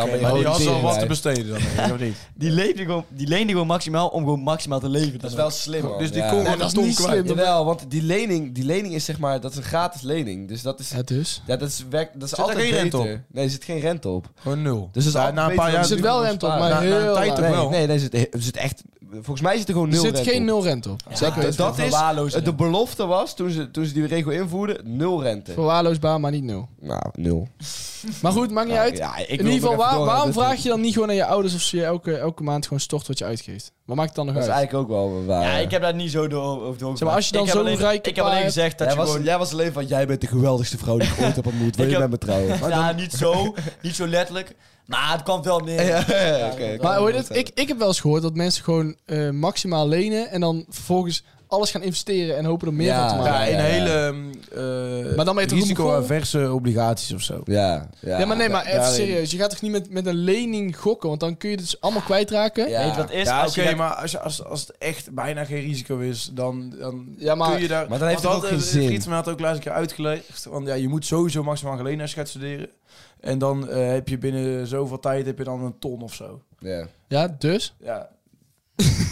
Speaker 2: een
Speaker 3: had wel wat te
Speaker 2: teringwijf.
Speaker 3: besteden dan, denk ik, of niet?
Speaker 4: die, leefde gewoon, die leende gewoon maximaal om gewoon maximaal te leven.
Speaker 2: Dat is
Speaker 4: dan
Speaker 2: wel
Speaker 4: ook.
Speaker 2: slim, man.
Speaker 3: Dus die
Speaker 2: ja.
Speaker 3: kon
Speaker 1: Nee,
Speaker 3: gewoon
Speaker 1: dat
Speaker 3: een
Speaker 1: is
Speaker 3: ton
Speaker 1: niet
Speaker 3: kwijt.
Speaker 1: slim.
Speaker 2: Jawel, want die lening, die lening is zeg maar, dat is een gratis lening. Dus dat is,
Speaker 1: Het dus.
Speaker 2: ja, dat is, werk, dat is
Speaker 3: daar
Speaker 2: altijd
Speaker 3: geen rente
Speaker 2: beter. Nee, er zit geen rente op.
Speaker 3: Gewoon nul.
Speaker 2: Dus dat is
Speaker 3: Ja,
Speaker 2: altijd
Speaker 3: na een
Speaker 2: beter
Speaker 3: paar
Speaker 2: dan
Speaker 3: jaar...
Speaker 1: er zit wel rente op, maar
Speaker 3: Na- na een
Speaker 1: heel
Speaker 3: tijd
Speaker 1: laag.
Speaker 3: toch
Speaker 2: Nee,
Speaker 3: wel?
Speaker 2: nee, nee, er zit, er zit echt, volgens mij zit er gewoon
Speaker 1: Er
Speaker 2: nul
Speaker 1: zit
Speaker 2: rente
Speaker 1: geen
Speaker 2: op.
Speaker 1: nul rente op.
Speaker 4: Ja,
Speaker 1: Zeker
Speaker 2: dat,
Speaker 1: weten.
Speaker 2: dat is,
Speaker 4: Verwaarloosd
Speaker 2: de belofte was, toen ze, toen ze die regeling invoerden, nul rente.
Speaker 1: Verwaarloosbaar, maar niet nul.
Speaker 2: Nou, nul.
Speaker 1: Maar goed, maakt niet
Speaker 2: Ja,
Speaker 1: uit.
Speaker 2: ja, ik
Speaker 1: In
Speaker 2: wil
Speaker 1: ieder geval,
Speaker 2: nog even
Speaker 1: waar-
Speaker 2: doorgaan.
Speaker 1: waarom
Speaker 2: Dat-
Speaker 1: vraag je dan niet gewoon aan je ouders of ze je elke, elke maand gewoon stort wat je uitgeeft? Wat maakt het dan nog
Speaker 2: Dat
Speaker 1: uit?
Speaker 2: is eigenlijk ook wel waar.
Speaker 4: Ja, ik heb daar niet zo door over doorgegaan.
Speaker 1: Zeg maar, als je dan
Speaker 4: ik heb
Speaker 1: zo'n
Speaker 4: alleen-
Speaker 1: rijke
Speaker 4: Ik heb alleen
Speaker 1: pa hebt-
Speaker 4: gezegd dat
Speaker 2: jij,
Speaker 4: je
Speaker 2: was,
Speaker 4: gewoon...
Speaker 2: jij was alleen van, jij bent de geweldigste vrouw die ik ooit heb ontmoet. Wil
Speaker 4: Ik
Speaker 2: je
Speaker 4: heb-
Speaker 2: met me trouwen?
Speaker 4: ja, niet zo. Niet zo letterlijk. Maar het kwam wel neer.
Speaker 2: Ja, ja, ja, oké.
Speaker 1: Maar hoor je dit? Ik, ik heb wel eens gehoord dat mensen gewoon eh, maximaal lenen en dan vervolgens alles gaan investeren en hopen er meer
Speaker 2: Ja.
Speaker 1: van te
Speaker 3: Ja,
Speaker 1: maken.
Speaker 3: in
Speaker 2: ja, ja.
Speaker 3: hele ehm, eh,
Speaker 1: Maar dan ben je toch
Speaker 3: risico-averse obligaties of zo.
Speaker 2: Ja,
Speaker 1: Ja, maar nee, maar even
Speaker 3: daarin.
Speaker 1: serieus. Je gaat toch niet met, met een lening gokken, want dan kun je het dus allemaal kwijtraken.
Speaker 2: Ja.
Speaker 4: Weet je wat het is?
Speaker 3: Ja,
Speaker 4: Als
Speaker 3: oké,
Speaker 4: je dat-
Speaker 3: maar als, je- als, als het echt bijna geen risico is, dan, dan
Speaker 1: Ja, maar-
Speaker 3: kun je daar...
Speaker 2: maar dan heeft
Speaker 3: want
Speaker 2: het ook
Speaker 3: dat,
Speaker 2: geen
Speaker 3: eh,
Speaker 2: zin.
Speaker 3: Een vriend van mij had ook laatst een keer uitgelegd, want ja, je moet sowieso maximaal geleden als je gaat studeren. En dan eh, heb je binnen zoveel tijd heb je dan een ton of zo.
Speaker 2: Ja.
Speaker 1: Ja, dus.
Speaker 3: Ja,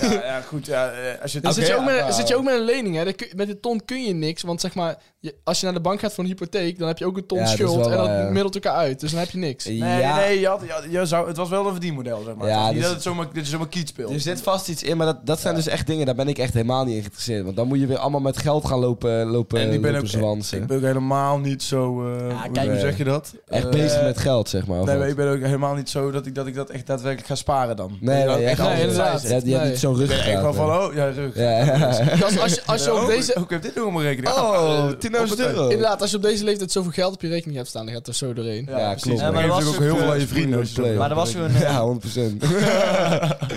Speaker 3: ja, ja goed. Ja, eh, als je
Speaker 1: Dan
Speaker 3: het
Speaker 1: zit, je
Speaker 3: Oké,
Speaker 1: ook met,
Speaker 3: ja,
Speaker 1: zit je ook met een lening. Hè? Dan kun- met een ton kun je niks. Want zeg maar, je- als je naar de bank gaat voor een hypotheek, dan heb je ook een ton
Speaker 2: Ja, dat is
Speaker 1: schuld.
Speaker 2: wel
Speaker 1: en dat
Speaker 2: waar, ja.
Speaker 1: middelt elkaar uit. Dus dan heb je niks.
Speaker 3: Nee,
Speaker 2: Ja.
Speaker 3: nee, je had, je had- je zou, het was wel een verdienmodel, zeg maar.
Speaker 2: Ja,
Speaker 3: Het was niet
Speaker 2: dus-
Speaker 3: dat het zomaar, dit is zomaar kiet speelt.
Speaker 2: Er zit vast iets in, maar dat, dat zijn dus echt dingen, daar ben ik echt helemaal niet in geïnteresseerd. Want dan moet je weer allemaal met geld gaan lopen, lopen,
Speaker 3: en ik ben,
Speaker 2: lopen
Speaker 3: ook,
Speaker 2: zwansen.
Speaker 3: ik ben ook helemaal niet zo... eh,
Speaker 4: Ja,
Speaker 3: hoe-
Speaker 4: kijk,
Speaker 3: hoe zeg
Speaker 2: eh,
Speaker 3: je dat?
Speaker 2: echt
Speaker 3: Eh,
Speaker 2: bezig met geld, zeg maar. of
Speaker 3: Nee,
Speaker 2: wat?
Speaker 3: maar ik ben ook helemaal niet zo dat ik dat, ik dat echt daadwerkelijk ga sparen dan.
Speaker 2: nee,
Speaker 3: Dat ik
Speaker 2: nee,
Speaker 3: echt
Speaker 1: nee,
Speaker 3: alles opzij
Speaker 1: inderdaad.
Speaker 2: Je,
Speaker 3: zet.
Speaker 2: hebt- je hebt
Speaker 1: Nee.
Speaker 2: niet zo'n rug
Speaker 3: Ik ben echt wel van, oh, ja, rug. Oh,
Speaker 2: Ja, ja.
Speaker 1: Dus als, als je,
Speaker 4: Oh,
Speaker 1: als je
Speaker 3: Ja,
Speaker 1: op
Speaker 3: ook-
Speaker 1: deze...
Speaker 3: Ook heb dit nog op mijn rekening.
Speaker 2: Oh,
Speaker 3: Ah, eh,
Speaker 2: 10.000
Speaker 3: op-
Speaker 2: euro.
Speaker 1: Inderdaad, als je op deze leeftijd zoveel geld op je rekening hebt staan, dan gaat er zo doorheen.
Speaker 2: Ja,
Speaker 3: precies.
Speaker 2: klopt.
Speaker 3: Ja, maar
Speaker 4: er
Speaker 3: je
Speaker 4: was
Speaker 3: hebt
Speaker 4: ook,
Speaker 3: natuurlijk
Speaker 4: eh,
Speaker 3: ook heel veel aan je vrienden. als je
Speaker 2: play-off.
Speaker 3: zo-
Speaker 4: Maar er was zo'n... eh,
Speaker 2: Ja, 100%.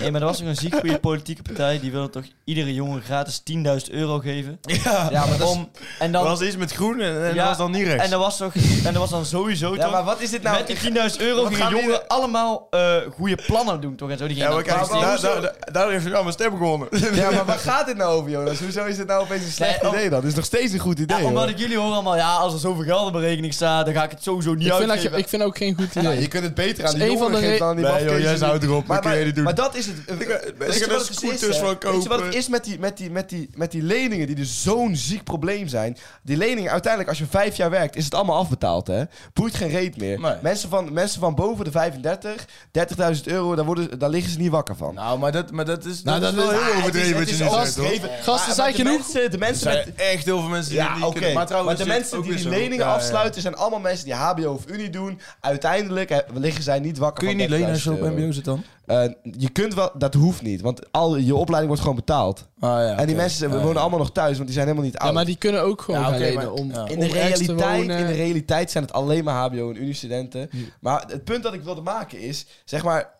Speaker 4: Nee, maar er was nog een ziek goede politieke partij. Die wilde toch iedere jongen gratis 10.000 euro geven.
Speaker 2: Ja, maar dat is-
Speaker 4: Om, en,
Speaker 3: Er
Speaker 4: dan,
Speaker 3: was iets met groen en,
Speaker 4: Ja,
Speaker 3: en dat was dan niet rechts.
Speaker 4: en er was toch... En er was dan sowieso
Speaker 2: Ja,
Speaker 4: toch...
Speaker 2: maar wat is dit nou?
Speaker 4: met die 10.000 euro
Speaker 2: Wat
Speaker 4: gingen
Speaker 2: gaan we
Speaker 4: jongeren
Speaker 2: hier-
Speaker 4: allemaal eh goede plannen doen, toch? En zo. Die gingen
Speaker 3: ja, maar
Speaker 4: dan-
Speaker 3: kijk,
Speaker 2: maar
Speaker 3: daar,
Speaker 2: hoezo-
Speaker 3: daar, daar, daar heeft hij allemaal stem gewonnen.
Speaker 2: Ja, maar waar gaat dit nou over, Jonas? Hoezo is dit nou opeens een slecht
Speaker 4: Nee, om-
Speaker 2: idee dan? Het is nog steeds een goed idee.
Speaker 4: ja, omdat
Speaker 2: hoor.
Speaker 4: ik jullie hoor allemaal, ja, als er zoveel geld op mijn rekening staat, dan ga ik het sowieso niet
Speaker 1: Ik vind, dat,
Speaker 4: uitgeven.
Speaker 1: ge- ik vind ook geen goed
Speaker 2: Ja,
Speaker 1: idee.
Speaker 2: je kunt het beter aan
Speaker 1: Dat
Speaker 2: die
Speaker 1: is een van
Speaker 2: jongeren
Speaker 1: de
Speaker 2: geven
Speaker 1: re-
Speaker 2: dan aan die
Speaker 3: Nee, joh,
Speaker 2: mafkees
Speaker 3: jij
Speaker 2: die-
Speaker 3: zou het
Speaker 2: Maar,
Speaker 3: erop, dat kun
Speaker 2: maar-
Speaker 3: jij niet doen.
Speaker 2: Maar dat is het.
Speaker 3: mensen
Speaker 2: Weet je
Speaker 3: gaan
Speaker 2: wat
Speaker 3: er
Speaker 2: het is,
Speaker 3: scooters
Speaker 2: hè?
Speaker 3: van
Speaker 2: Weet je wat het
Speaker 3: kopen?
Speaker 2: is met die, met die, met die, met die leningen die dus zo'n ziek probleem zijn? Die leningen, uiteindelijk als je vijf jaar werkt, is het allemaal afbetaald, hè? Boeit geen reet meer.
Speaker 3: Nee.
Speaker 2: Mensen, van, mensen van boven de 35, 30.000 euro, daar, worden, daar liggen ze niet wakker van.
Speaker 3: Nou, maar dat, maar dat is,
Speaker 1: Nou,
Speaker 3: dat
Speaker 1: dat
Speaker 3: is wel
Speaker 1: is-
Speaker 2: Ah,
Speaker 3: heel overdreven wat je nu zegt, hoor. Er
Speaker 2: Gasten,
Speaker 1: Gasten zijn genoeg.
Speaker 2: Mensen, de mensen met,
Speaker 3: zijn echt heel veel mensen die
Speaker 2: ja,
Speaker 3: die
Speaker 2: oké.
Speaker 3: kunnen.
Speaker 2: Maar,
Speaker 3: trouwens,
Speaker 2: de
Speaker 3: dit is
Speaker 2: mensen
Speaker 3: ook
Speaker 2: die
Speaker 3: weer
Speaker 2: die
Speaker 3: zo.
Speaker 2: leningen
Speaker 3: Ja, ja.
Speaker 2: afsluiten zijn allemaal mensen die HBO of Unie doen. Uiteindelijk eh, liggen zij niet wakker
Speaker 3: Kun
Speaker 2: van
Speaker 3: je niet lenen als je
Speaker 2: 30.000
Speaker 3: op
Speaker 2: euro.
Speaker 3: mbo zit dan?
Speaker 2: Eh, je kunt wel, dat hoeft niet, want al je opleiding wordt gewoon betaald.
Speaker 3: Ah, ja,
Speaker 2: En die mensen we wonen allemaal nog thuis, want die zijn helemaal niet
Speaker 1: Ja,
Speaker 2: oud.
Speaker 1: maar die kunnen ook gewoon
Speaker 3: Ja,
Speaker 1: gaan
Speaker 3: oké,
Speaker 1: lenen
Speaker 3: maar-
Speaker 1: om,
Speaker 3: ja.
Speaker 1: Ah, om
Speaker 2: in, de
Speaker 1: ergens te
Speaker 2: realiteit,
Speaker 1: wonen.
Speaker 2: in de realiteit zijn het alleen maar HBO en Unie-studenten. Maar het punt dat ik wilde maken is, zeg maar,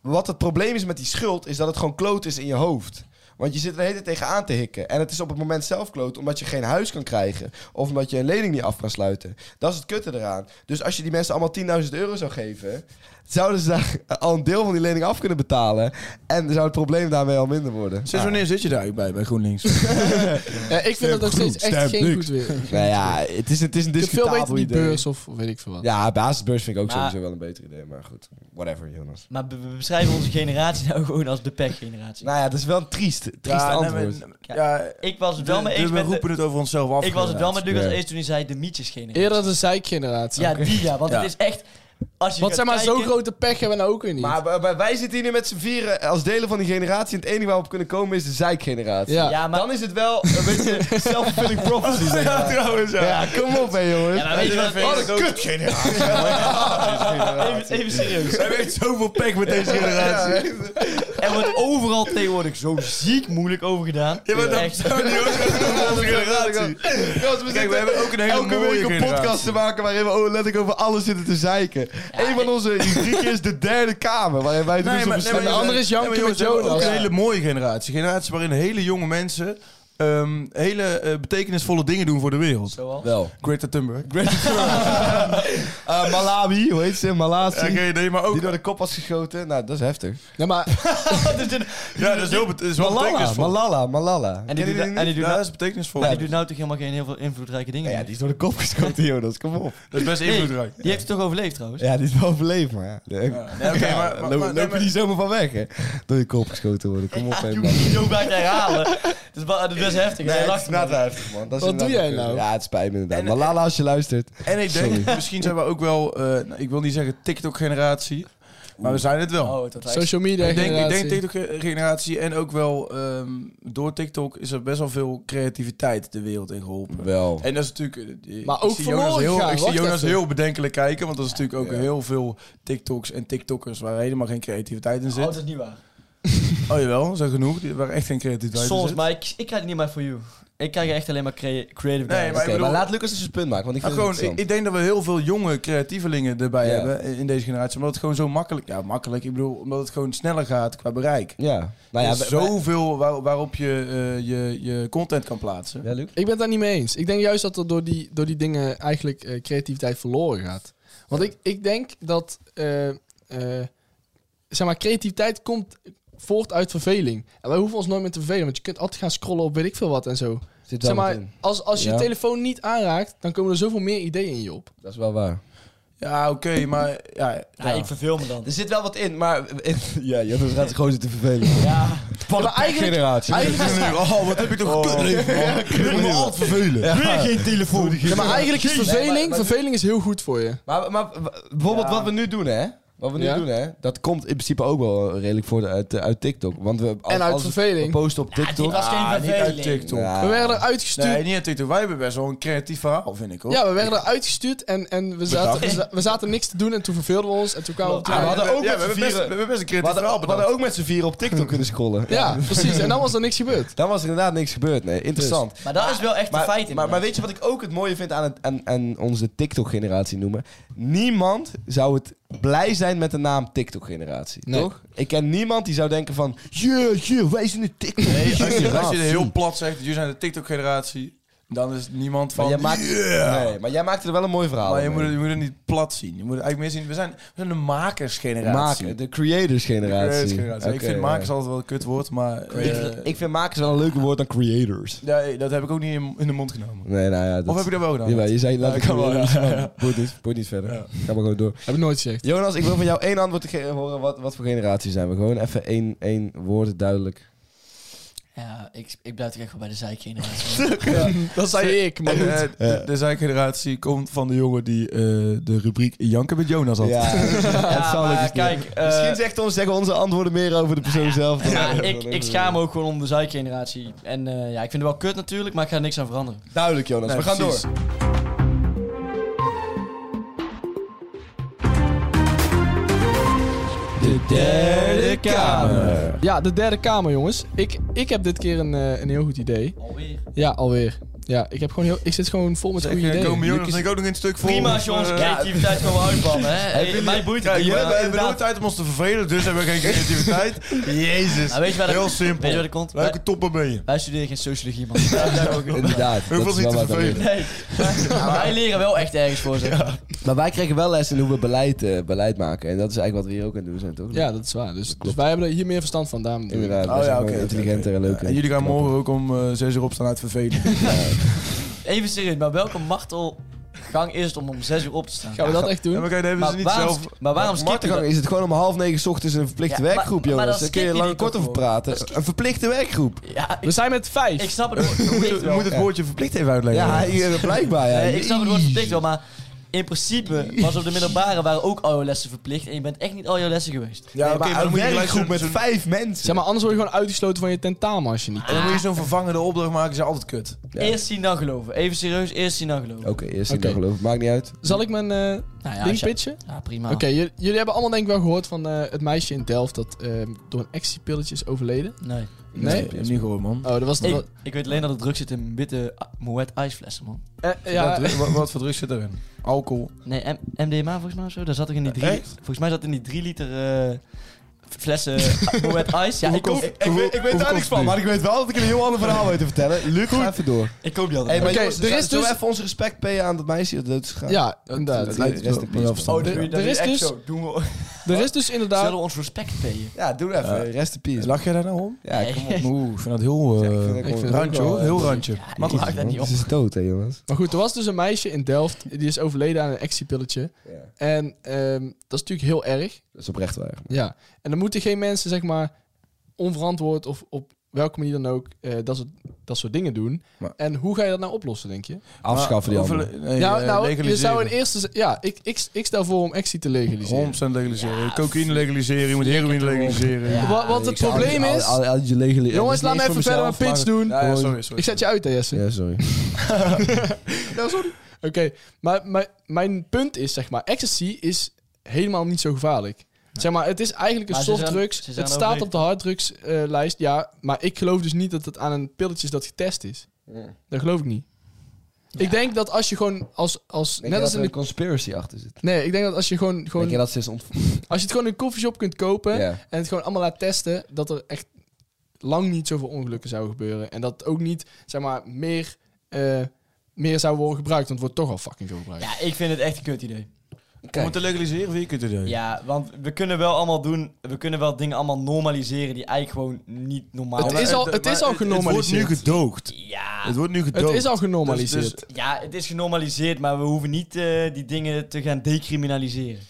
Speaker 2: wat het probleem is met die schuld, is dat het gewoon kloot is in je hoofd. Want je zit er de hele tijd tegenaan te hikken. En het is op het moment zelf kloot, omdat je geen huis kan krijgen. Of omdat je een lening niet af kan sluiten. Dat is het kutte eraan. Dus als je die mensen allemaal 10.000 euro zou geven, zouden ze daar al een deel van die lening af kunnen betalen. En zou het probleem daarmee al minder worden.
Speaker 3: Sinds wanneer zit je daar eigenlijk bij, bij GroenLinks?
Speaker 1: Ja, ik vind dat nog steeds echt
Speaker 3: stem,
Speaker 1: geen
Speaker 3: niks.
Speaker 1: goed weer.
Speaker 2: Nou ja, het is, het is een
Speaker 1: Je veel
Speaker 2: discutabel
Speaker 1: beter die
Speaker 2: idee.
Speaker 1: beurs of weet ik veel wat.
Speaker 2: Ja, basisbeurs vind ik ook
Speaker 4: Maar-
Speaker 2: sowieso wel een beter idee. Maar goed, whatever, Jonas.
Speaker 4: Maar be- we beschrijven onze generatie nou gewoon als de pechgeneratie.
Speaker 2: Nou ja, het is wel een triest, triest antwoord.
Speaker 3: ja,
Speaker 4: ik was het wel
Speaker 3: de-
Speaker 4: mee
Speaker 3: de-
Speaker 4: eens
Speaker 3: we
Speaker 4: met... de-
Speaker 3: roepen het over onszelf af.
Speaker 4: ik was het wel met Lucas
Speaker 2: Ja.
Speaker 4: eens toen hij zei de mietjesgeneratie.
Speaker 1: Eerder de zijkgeneratie.
Speaker 4: Ja, die ja, want
Speaker 3: Ja.
Speaker 4: het is echt... Als je
Speaker 1: Want
Speaker 4: gaat
Speaker 1: zeg maar, zo'n
Speaker 4: kijken-
Speaker 1: grote pech hebben we nou ook weer niet.
Speaker 2: maar, maar wij zitten hier nu met z'n vieren als delen van die generatie. En het enige waar we op kunnen komen is de zeikgeneratie.
Speaker 1: Ja.
Speaker 4: Ja, maar...
Speaker 2: Dan is het wel een beetje self-fulfilling prophecy. Zeg
Speaker 3: Ja,
Speaker 2: maar.
Speaker 3: trouwens, ja.
Speaker 2: Ja, kom op, hè, jongens.
Speaker 4: Ja, Oh, maar weet je wat...
Speaker 2: Wat een kutgeneratie.
Speaker 4: Even, even serieus.
Speaker 3: Hij heeft zoveel pech met deze generatie.
Speaker 2: Ja,
Speaker 4: Er wordt overal tegenwoordig zo ziek moeilijk over gedaan.
Speaker 3: Ja, maar dat
Speaker 4: Echt.
Speaker 3: zou niet ook over onze generatie.
Speaker 2: Jongens, we
Speaker 3: Kijk, we
Speaker 2: zitten-
Speaker 3: hebben ook een hele
Speaker 2: elke
Speaker 3: mooie
Speaker 2: week een
Speaker 3: generatie.
Speaker 2: podcast te maken waarin we oh, letterlijk over alles zitten te zeiken. een van onze rubrieken is de derde kamer, waarin wij het
Speaker 3: Nee,
Speaker 2: dus
Speaker 3: maar,
Speaker 2: op
Speaker 3: nee,
Speaker 2: bestaan.
Speaker 3: maar
Speaker 1: de andere is Janke
Speaker 3: nee, maar
Speaker 1: met
Speaker 3: jongens, we hebben
Speaker 1: Jonas.
Speaker 3: Ook een
Speaker 1: Ja.
Speaker 3: hele mooie generatie. Generatie waarin hele jonge mensen ehm, hele eh, betekenisvolle dingen doen voor de wereld.
Speaker 4: Zoals?
Speaker 2: Wel.
Speaker 3: Greta Thunberg.
Speaker 2: Eh, Malawi, hoe heet ze?
Speaker 3: Oké,
Speaker 2: Malazi.
Speaker 3: nee, maar ook...
Speaker 2: Die door de kop was geschoten. Nou, dat is heftig.
Speaker 1: Ja, maar
Speaker 4: Dus
Speaker 3: Ja, dat is, heel, bet- is wel
Speaker 2: Malala,
Speaker 3: betekenisvol.
Speaker 2: Malala, Malala.
Speaker 4: En die doet,
Speaker 3: Ken je
Speaker 4: en die doet,
Speaker 3: niet? Ja,
Speaker 4: nou,
Speaker 3: dat is betekenisvol.
Speaker 4: en die doet nou toch helemaal geen heel veel invloedrijke dingen
Speaker 2: Ja,
Speaker 4: meer?
Speaker 2: die is door de kop geschoten, Jonas. Kom op.
Speaker 3: Dat is best
Speaker 4: Nee,
Speaker 3: invloedrijk.
Speaker 4: die heeft het toch overleefd trouwens?
Speaker 2: Ja, die is wel overleefd, maar ja. Nee,
Speaker 3: Ja, nee, Oké,
Speaker 2: ja,
Speaker 3: maar- maar-
Speaker 2: loop-
Speaker 3: maar- nee,
Speaker 2: loop je
Speaker 3: maar-
Speaker 2: niet zomaar van weg, hè? Door je kop geschoten worden. Kom op,
Speaker 4: Je
Speaker 2: hè,
Speaker 4: hoeft
Speaker 2: man.
Speaker 4: het niet zo bij te herhalen. Het is, ba- het is best heftig.
Speaker 2: Nee,
Speaker 4: Hij
Speaker 2: het
Speaker 4: lacht
Speaker 2: is
Speaker 3: nou-
Speaker 2: net
Speaker 4: erom.
Speaker 2: heftig, man. Dat is
Speaker 1: Wat doe
Speaker 2: inderdaad
Speaker 1: jij
Speaker 2: een-
Speaker 1: nou?
Speaker 2: Ja, het spijt me inderdaad.
Speaker 3: En-
Speaker 2: Malala, als je luistert.
Speaker 3: En ik denk,
Speaker 2: Sorry.
Speaker 3: misschien zijn we ook wel, eh, nou, ik wil niet zeggen TikTok-generatie. Maar we zijn het wel.
Speaker 4: Oh, tot
Speaker 1: Social media
Speaker 3: Ik denk, ik
Speaker 1: generatie.
Speaker 3: denk TikTok-generatie en ook wel ehm, door TikTok is er best wel veel creativiteit de wereld in geholpen.
Speaker 2: Wel.
Speaker 3: En dat is natuurlijk. eh,
Speaker 1: Maar
Speaker 3: ik
Speaker 1: ook
Speaker 3: zie Jonas
Speaker 1: verloren
Speaker 3: heel,
Speaker 1: gegaan,
Speaker 3: Ik zie
Speaker 1: wacht
Speaker 3: Jonas
Speaker 1: even.
Speaker 3: heel bedenkelijk kijken, want dat is natuurlijk ook
Speaker 2: Ja.
Speaker 3: heel veel TikToks en TikTokkers waar helemaal geen creativiteit in
Speaker 4: Oh, dat
Speaker 3: zit.
Speaker 4: is niet waar.
Speaker 3: Oh jawel, zo genoeg, die- waar echt geen creativiteit in
Speaker 4: Soms,
Speaker 3: zit.
Speaker 4: maar ik, ik krijg het niet maar voor you. Ik krijg echt alleen maar crea- creative
Speaker 3: Nee,
Speaker 4: guys.
Speaker 3: maar
Speaker 2: Oké,
Speaker 3: ik bedoel-
Speaker 2: maar laat Lucas eens een punt maken, want ik
Speaker 3: Maar
Speaker 2: vind
Speaker 3: gewoon,
Speaker 2: het
Speaker 3: ik,
Speaker 2: interessant.
Speaker 3: ik denk dat we heel veel jonge creatievelingen erbij
Speaker 2: Ja.
Speaker 3: hebben in- in deze generatie, omdat het gewoon zo makkelijk, ja makkelijk, ik bedoel, omdat het gewoon sneller gaat qua bereik.
Speaker 2: ja. Nou
Speaker 3: Er
Speaker 2: ja,
Speaker 3: is
Speaker 2: we- we-
Speaker 3: zoveel waar- waarop je, eh, je je content kan plaatsen.
Speaker 2: Ja, Luc?
Speaker 1: Ik ben het daar niet mee eens. Ik denk juist dat er door die, door die dingen eigenlijk eh, creativiteit verloren gaat. Want ik, ik denk dat eh, eh, zeg maar, creativiteit komt voort uit verveling. En wij hoeven ons nooit meer te vervelen, want je kunt altijd gaan scrollen op weet ik veel wat en zo.
Speaker 2: Zit
Speaker 1: Zeg
Speaker 2: wel
Speaker 1: maar,
Speaker 2: wat in.
Speaker 1: als, als je
Speaker 2: Ja.
Speaker 1: je telefoon niet aanraakt, dan komen er zoveel meer ideeën in je op.
Speaker 2: Dat is wel waar.
Speaker 3: Ja, oké, maar Dus ja,
Speaker 4: Ja, ik verveel me dan.
Speaker 2: Er zit wel wat in, maar... ja, Jonas gaat zich gewoon zitten vervelen.
Speaker 4: ja,
Speaker 1: maar eigenlijk,
Speaker 2: generatie.
Speaker 1: eigenlijk,
Speaker 3: Oh, wat heb je toch oh.
Speaker 2: vervelen.
Speaker 4: geen telefoon.
Speaker 1: ja, maar eigenlijk is
Speaker 2: Nee, maar-
Speaker 1: verveling,
Speaker 2: maar-
Speaker 1: verveling is heel goed voor je.
Speaker 2: Maar, maar w- bijvoorbeeld
Speaker 3: Ja.
Speaker 2: wat we nu doen, hè? Wat we nu
Speaker 1: Ja.
Speaker 2: doen, hè? Dat komt in principe ook wel redelijk voor de- uit, uit TikTok. Want we, als,
Speaker 1: En uit
Speaker 2: als we
Speaker 1: verveling.
Speaker 2: posten op
Speaker 4: dit
Speaker 2: TikTok... Ah,
Speaker 4: was geen
Speaker 3: Ah, niet uit
Speaker 4: verveling.
Speaker 3: TikTok.
Speaker 2: Ja.
Speaker 1: We werden uitgestuurd.
Speaker 3: Nee, niet uit TikTok. Wij hebben best wel een creatief verhaal, vind ik hoor.
Speaker 1: Ja, we werden uitgestuurd en, en we, zaten, we, za- we zaten niks te doen en toen verveelden we ons en toen kwamen we op
Speaker 2: Ah,
Speaker 1: terug.
Speaker 2: we hadden ook
Speaker 3: ja,
Speaker 2: met
Speaker 3: we, hebben
Speaker 2: z'n
Speaker 3: best, we
Speaker 2: vieren-
Speaker 3: hebben best een
Speaker 2: we
Speaker 3: creatief
Speaker 2: hadden,
Speaker 3: verhaal
Speaker 2: we hadden
Speaker 3: bedacht.
Speaker 2: ook met z'n vier op TikTok kunnen scrollen.
Speaker 1: Ja, precies. En dan was er niks gebeurd.
Speaker 2: Dan was er inderdaad niks gebeurd, nee. Interessant.
Speaker 4: Maar dat is wel echt een
Speaker 2: Maar,
Speaker 4: feit.
Speaker 2: maar, maar
Speaker 4: inderdaad.
Speaker 2: weet je wat ik ook het mooie vind aan, het, aan, aan onze TikTok-generatie noemen? Niemand zou het blij zijn met de naam TikTok-generatie,
Speaker 1: Nee.
Speaker 2: toch? Ik ken niemand die zou denken van... Yeah, yeah, wij zijn de TikTok.
Speaker 3: Nee, als je, als je
Speaker 2: generatie."
Speaker 3: heel plat zegt, jullie zijn de TikTok-generatie, dan is niemand
Speaker 2: Maar
Speaker 3: van...
Speaker 2: jij, maakt, nee, maar jij maakt er wel een mooi verhaal
Speaker 3: maar je
Speaker 2: mee.
Speaker 3: moet, het- je moet het niet plat zien. Je moet het eigenlijk meer zien, we zijn, we zijn de makersgeneratie.
Speaker 2: Maken,
Speaker 3: De
Speaker 2: de creators-generatie.
Speaker 3: creators-generatie. ik
Speaker 2: Oké,
Speaker 3: vind
Speaker 2: ja.
Speaker 3: makers altijd wel een kut woord, maar... eh,
Speaker 2: Ik, vind- ik vind makers wel een leuker woord dan creators.
Speaker 3: nee, dat heb ik ook niet in, in de mond genomen.
Speaker 2: Nee, nou ja. Dat,
Speaker 3: Of heb ik dat wel gedaan?
Speaker 2: Jawel, je zei laat
Speaker 3: Ja,
Speaker 2: ik
Speaker 3: kan wel,
Speaker 2: creators.
Speaker 3: ja.
Speaker 2: maar Boeit niet, boeit niet verder.
Speaker 3: Ja.
Speaker 2: Ga maar gewoon door.
Speaker 1: Heb ik nooit gezegd.
Speaker 2: Jonas, ik wil van jou één antwoord ge- horen. Wat, wat voor generatie zijn we? Gewoon even één, één woord duidelijk.
Speaker 4: Ja, ik, ik blijf toch echt wel bij de zijkgeneratie.
Speaker 1: Dat zei ik, maar
Speaker 3: En,
Speaker 1: goed.
Speaker 3: eh, de, de zijgeneratie komt van de jongen die eh, de rubriek Janken met Jonas had.
Speaker 2: het zal
Speaker 4: maar
Speaker 2: ook eens
Speaker 4: kijk,
Speaker 2: doen.
Speaker 4: eh,
Speaker 2: Misschien zegt ons, zeggen onze antwoorden meer over de persoon zelf. dan-
Speaker 4: Ja,
Speaker 2: dan-
Speaker 4: ik, ik schaam me ook gewoon om de zijkgeneratie. En eh, ja, ik vind het wel kut natuurlijk, maar ik ga er niks aan veranderen.
Speaker 2: Duidelijk, Jonas.
Speaker 3: Nee,
Speaker 2: we gaan
Speaker 3: precies.
Speaker 2: door. De derde
Speaker 3: eh,
Speaker 2: kamer.
Speaker 1: Ja, de derde kamer, jongens. Ik, ik heb dit keer een, eh, een heel goed idee.
Speaker 4: Alweer.
Speaker 1: Ja, alweer. Ja, ik, heb gewoon heel, ik zit gewoon vol met
Speaker 3: Zeg,
Speaker 1: goede
Speaker 3: eh,
Speaker 1: ideeën.
Speaker 3: komen Jonas
Speaker 1: Lucas-
Speaker 3: en ik ook nog in het stuk voor.
Speaker 4: Prima
Speaker 3: ons,
Speaker 4: als je onze
Speaker 3: eh,
Speaker 4: creativiteit gewoon wil uitbannen, hè. Hey, mij boeit het
Speaker 3: Kijk,
Speaker 4: niet, maar
Speaker 3: we hebben we hebben nooit
Speaker 4: inderdaad.
Speaker 3: tijd om ons te vervelen, dus hebben we geen creativiteit. Jezus.
Speaker 4: Maar Nou, weet je waar dat-
Speaker 3: Heel simpel.
Speaker 4: weet je waar dat komt?
Speaker 3: Welke topper ben je?
Speaker 4: Wij studeren geen sociologie, man.
Speaker 2: Inderdaad.
Speaker 3: Hoeveel
Speaker 2: dat
Speaker 3: is niet
Speaker 2: wel
Speaker 3: te
Speaker 2: wat aan
Speaker 3: vervelen?
Speaker 2: is.
Speaker 4: Nee. Maar Nou, wij leren wel echt ergens voor, zeg maar.
Speaker 2: Maar wij krijgen wel les in hoe we beleid, eh, beleid maken. En dat is eigenlijk wat we hier ook aan het doen zijn, toch?
Speaker 1: Ja, dat is waar. Dus, dus wij hebben er hier meer verstand van, daarom doen we
Speaker 2: Inderdaad.
Speaker 3: Oh
Speaker 2: wij zijn
Speaker 3: ja,
Speaker 2: gewoon
Speaker 3: oké,
Speaker 2: Intelligenter en leuker.
Speaker 3: En jullie gaan morgen ook om eh, 6 uur opstaan uit vervelen.
Speaker 4: Even serieus, maar welke martelgang is het om om 6 uur op te staan?
Speaker 1: dit. Gaan we dat echt doen?
Speaker 3: Ja, maar kijk, dat hebben ze
Speaker 4: Maar
Speaker 3: niet
Speaker 4: waarom,
Speaker 3: zelf.
Speaker 4: maar waarom
Speaker 2: Op
Speaker 4: skippen
Speaker 2: Martengang
Speaker 4: we
Speaker 2: is het gewoon om half negen 's ochtends een verplichte
Speaker 4: Ja, maar-
Speaker 2: werkgroep,
Speaker 4: maar
Speaker 2: jongens.
Speaker 4: dan
Speaker 2: Daar kun je
Speaker 4: skip je
Speaker 2: lang
Speaker 4: die
Speaker 2: kort
Speaker 4: toch
Speaker 2: over
Speaker 4: gewoon.
Speaker 2: praten. Een verplichte werkgroep.
Speaker 4: Ja,
Speaker 1: We
Speaker 4: ik,
Speaker 1: zijn met vijf.
Speaker 4: ik snap het woord verplicht
Speaker 3: Je moet
Speaker 4: wel.
Speaker 3: het woordje verplicht even uitleggen.
Speaker 2: Ja, hier, blijkbaar. Ja.
Speaker 4: Nee, Eh, ik snap het woord verplicht wel, maar in principe was op de middelbare waren ook al jouw lessen verplicht. En je bent echt niet al jouw lessen geweest.
Speaker 3: Ja,
Speaker 2: Ja,
Speaker 3: oké,
Speaker 2: maar
Speaker 3: maar dan
Speaker 2: een
Speaker 3: moet je gelijk
Speaker 2: werkgroep
Speaker 3: zo'n-
Speaker 2: met
Speaker 3: zo'n-
Speaker 2: vijf mensen.
Speaker 1: Zeg maar, anders word je gewoon uitgesloten van je tentamen als je niet...
Speaker 3: En dan moet je zo'n vervangende opdracht maken, is altijd kut.
Speaker 2: Ja. Oh.
Speaker 4: Eerst zien dan geloven. Even serieus, eerst zien dan geloven.
Speaker 2: Oké, eerst in
Speaker 1: Oké.
Speaker 2: dan geloof ik. Maakt niet uit.
Speaker 1: Zal ik mijn eh,
Speaker 4: Nou ja,
Speaker 1: ding
Speaker 4: als je- Ah.
Speaker 1: pitchen?
Speaker 4: ja, prima.
Speaker 1: Oké, j- jullie hebben allemaal denk ik wel gehoord van eh, het meisje in Delft dat eh, door een ecstasy-pilletje is overleden.
Speaker 4: Nee.
Speaker 1: Nee?
Speaker 3: Ik heb het niet gehoord, man.
Speaker 1: Oh, dat was...
Speaker 4: Ik, ik weet alleen dat het druk zit in witte ah, Moet ijsflessen, man.
Speaker 1: eh,
Speaker 3: Wat
Speaker 1: ja,
Speaker 3: druk- Wat wat voor druk zit erin? Alcohol.
Speaker 4: Nee, M- MDMA volgens mij of zo. Daar zat ik in die drie.
Speaker 3: Echt?
Speaker 4: Volgens mij zat in die drie liter eh, flessen Moet ice. Ja, ik koop, ik,
Speaker 3: hoeveel-
Speaker 2: weet- ik weet
Speaker 3: hoeveel
Speaker 2: daar
Speaker 3: kost
Speaker 2: niks
Speaker 3: het
Speaker 2: van,
Speaker 3: nu?
Speaker 2: maar ik weet wel dat ik een heel ander verhaal weet te vertellen. Luc, ga even door.
Speaker 4: ik koop die
Speaker 2: Hey,
Speaker 4: altijd.
Speaker 2: maar
Speaker 1: Oké,
Speaker 2: jongens,
Speaker 1: er is
Speaker 2: zullen we
Speaker 1: dus-
Speaker 2: even ons respect payen aan dat meisje dat dood is gegaan?
Speaker 1: ja,
Speaker 2: dat
Speaker 1: inderdaad.
Speaker 2: lijkt rest in peace.
Speaker 3: verstandig.
Speaker 1: Oh, de-
Speaker 4: Dat
Speaker 1: er is
Speaker 4: echt
Speaker 1: dus-
Speaker 4: zo. Doen we,
Speaker 1: Er is dus
Speaker 4: zullen
Speaker 1: inderdaad...
Speaker 4: we ons respect payen?
Speaker 2: Ja, doe even. Rest in peace.
Speaker 3: Lach jij daar nou om?
Speaker 2: Ja, ik
Speaker 4: Nee.
Speaker 3: Oeh, ik vind dat heel...
Speaker 2: Ja,
Speaker 3: eh,
Speaker 2: ik vind dat
Speaker 1: gewoon-
Speaker 3: randje hoor, heel randje.
Speaker 4: Ja,
Speaker 3: Maar
Speaker 4: die
Speaker 3: goed.
Speaker 4: maakt dat niet op.
Speaker 2: Het is dood, hè, jongens.
Speaker 1: Maar goed, er was dus een meisje in Delft die is overleden aan een actiepilletje.
Speaker 2: Ja.
Speaker 1: En ehm, dat is natuurlijk heel erg.
Speaker 2: Dat is oprecht waar.
Speaker 1: Ja. En dan moeten geen mensen, zeg maar, onverantwoord of op welke manier dan ook eh, dat, soort, dat soort dingen doen.
Speaker 2: Maar-
Speaker 1: En hoe ga je dat nou oplossen, denk je?
Speaker 2: Afschaffen die
Speaker 3: Hoeveel-
Speaker 2: andere.
Speaker 3: Nee,
Speaker 1: ja,
Speaker 3: eh,
Speaker 1: nou, je
Speaker 3: legaliseren.
Speaker 1: zou in eerste... z- Ja, ik, ik, ik stel voor om ecstasy te legaliseren.
Speaker 3: 100% legaliseren. cocaïne legaliseren, je moet heroïne legaliseren.
Speaker 1: Wa- Want, het probleem is... Jongens, laat me even verder mijn pitch doen.
Speaker 3: Ja, ja, sorry, sorry.
Speaker 1: Ik zet je uit, hè, Jesse.
Speaker 2: Ja, sorry.
Speaker 1: Ja, sorry. Oké, maar, maar mijn punt is, zeg maar, ecstasy is helemaal niet zo gevaarlijk. Zeg maar, het is eigenlijk een
Speaker 4: Maar ze zijn-
Speaker 1: softdrugs.
Speaker 4: ze zijn
Speaker 1: Het staat op de harddrugslijst, lijst ja. Maar ik geloof dus niet dat het aan een pilletje is dat getest is. Dat geloof ik niet. Ik denk dat als je gewoon als... als net als in de...
Speaker 2: conspiracy achter zit.
Speaker 1: Nee, ik denk dat als je gewoon... gewoon
Speaker 2: Denk je dat ze is ontvoerd?
Speaker 1: Als je het gewoon in een koffieshop kunt kopen...
Speaker 2: Ja.
Speaker 1: en het gewoon allemaal laat testen... dat er echt lang niet zoveel ongelukken zouden gebeuren. En dat het ook niet, zeg maar, meer... eh, meer zou worden gebruikt, want het wordt toch al fucking veel gebruikt.
Speaker 4: Ja, ik vind het echt een kut idee.
Speaker 3: Om het te legaliseren, vind ik het idee.
Speaker 4: Ja, want we kunnen wel allemaal doen, we kunnen wel dingen allemaal normaliseren die eigenlijk gewoon niet normaal
Speaker 1: Het
Speaker 3: Maar
Speaker 4: zijn.
Speaker 1: is al-
Speaker 3: maar
Speaker 1: het is al
Speaker 3: Het
Speaker 1: genormaliseerd.
Speaker 3: wordt nu gedoogd.
Speaker 4: Ja,
Speaker 3: Het wordt nu gedoogd.
Speaker 1: Het is al genormaliseerd.
Speaker 3: Dus- dus-
Speaker 4: ja, het is genormaliseerd, maar we hoeven niet eh, die dingen te gaan decriminaliseren.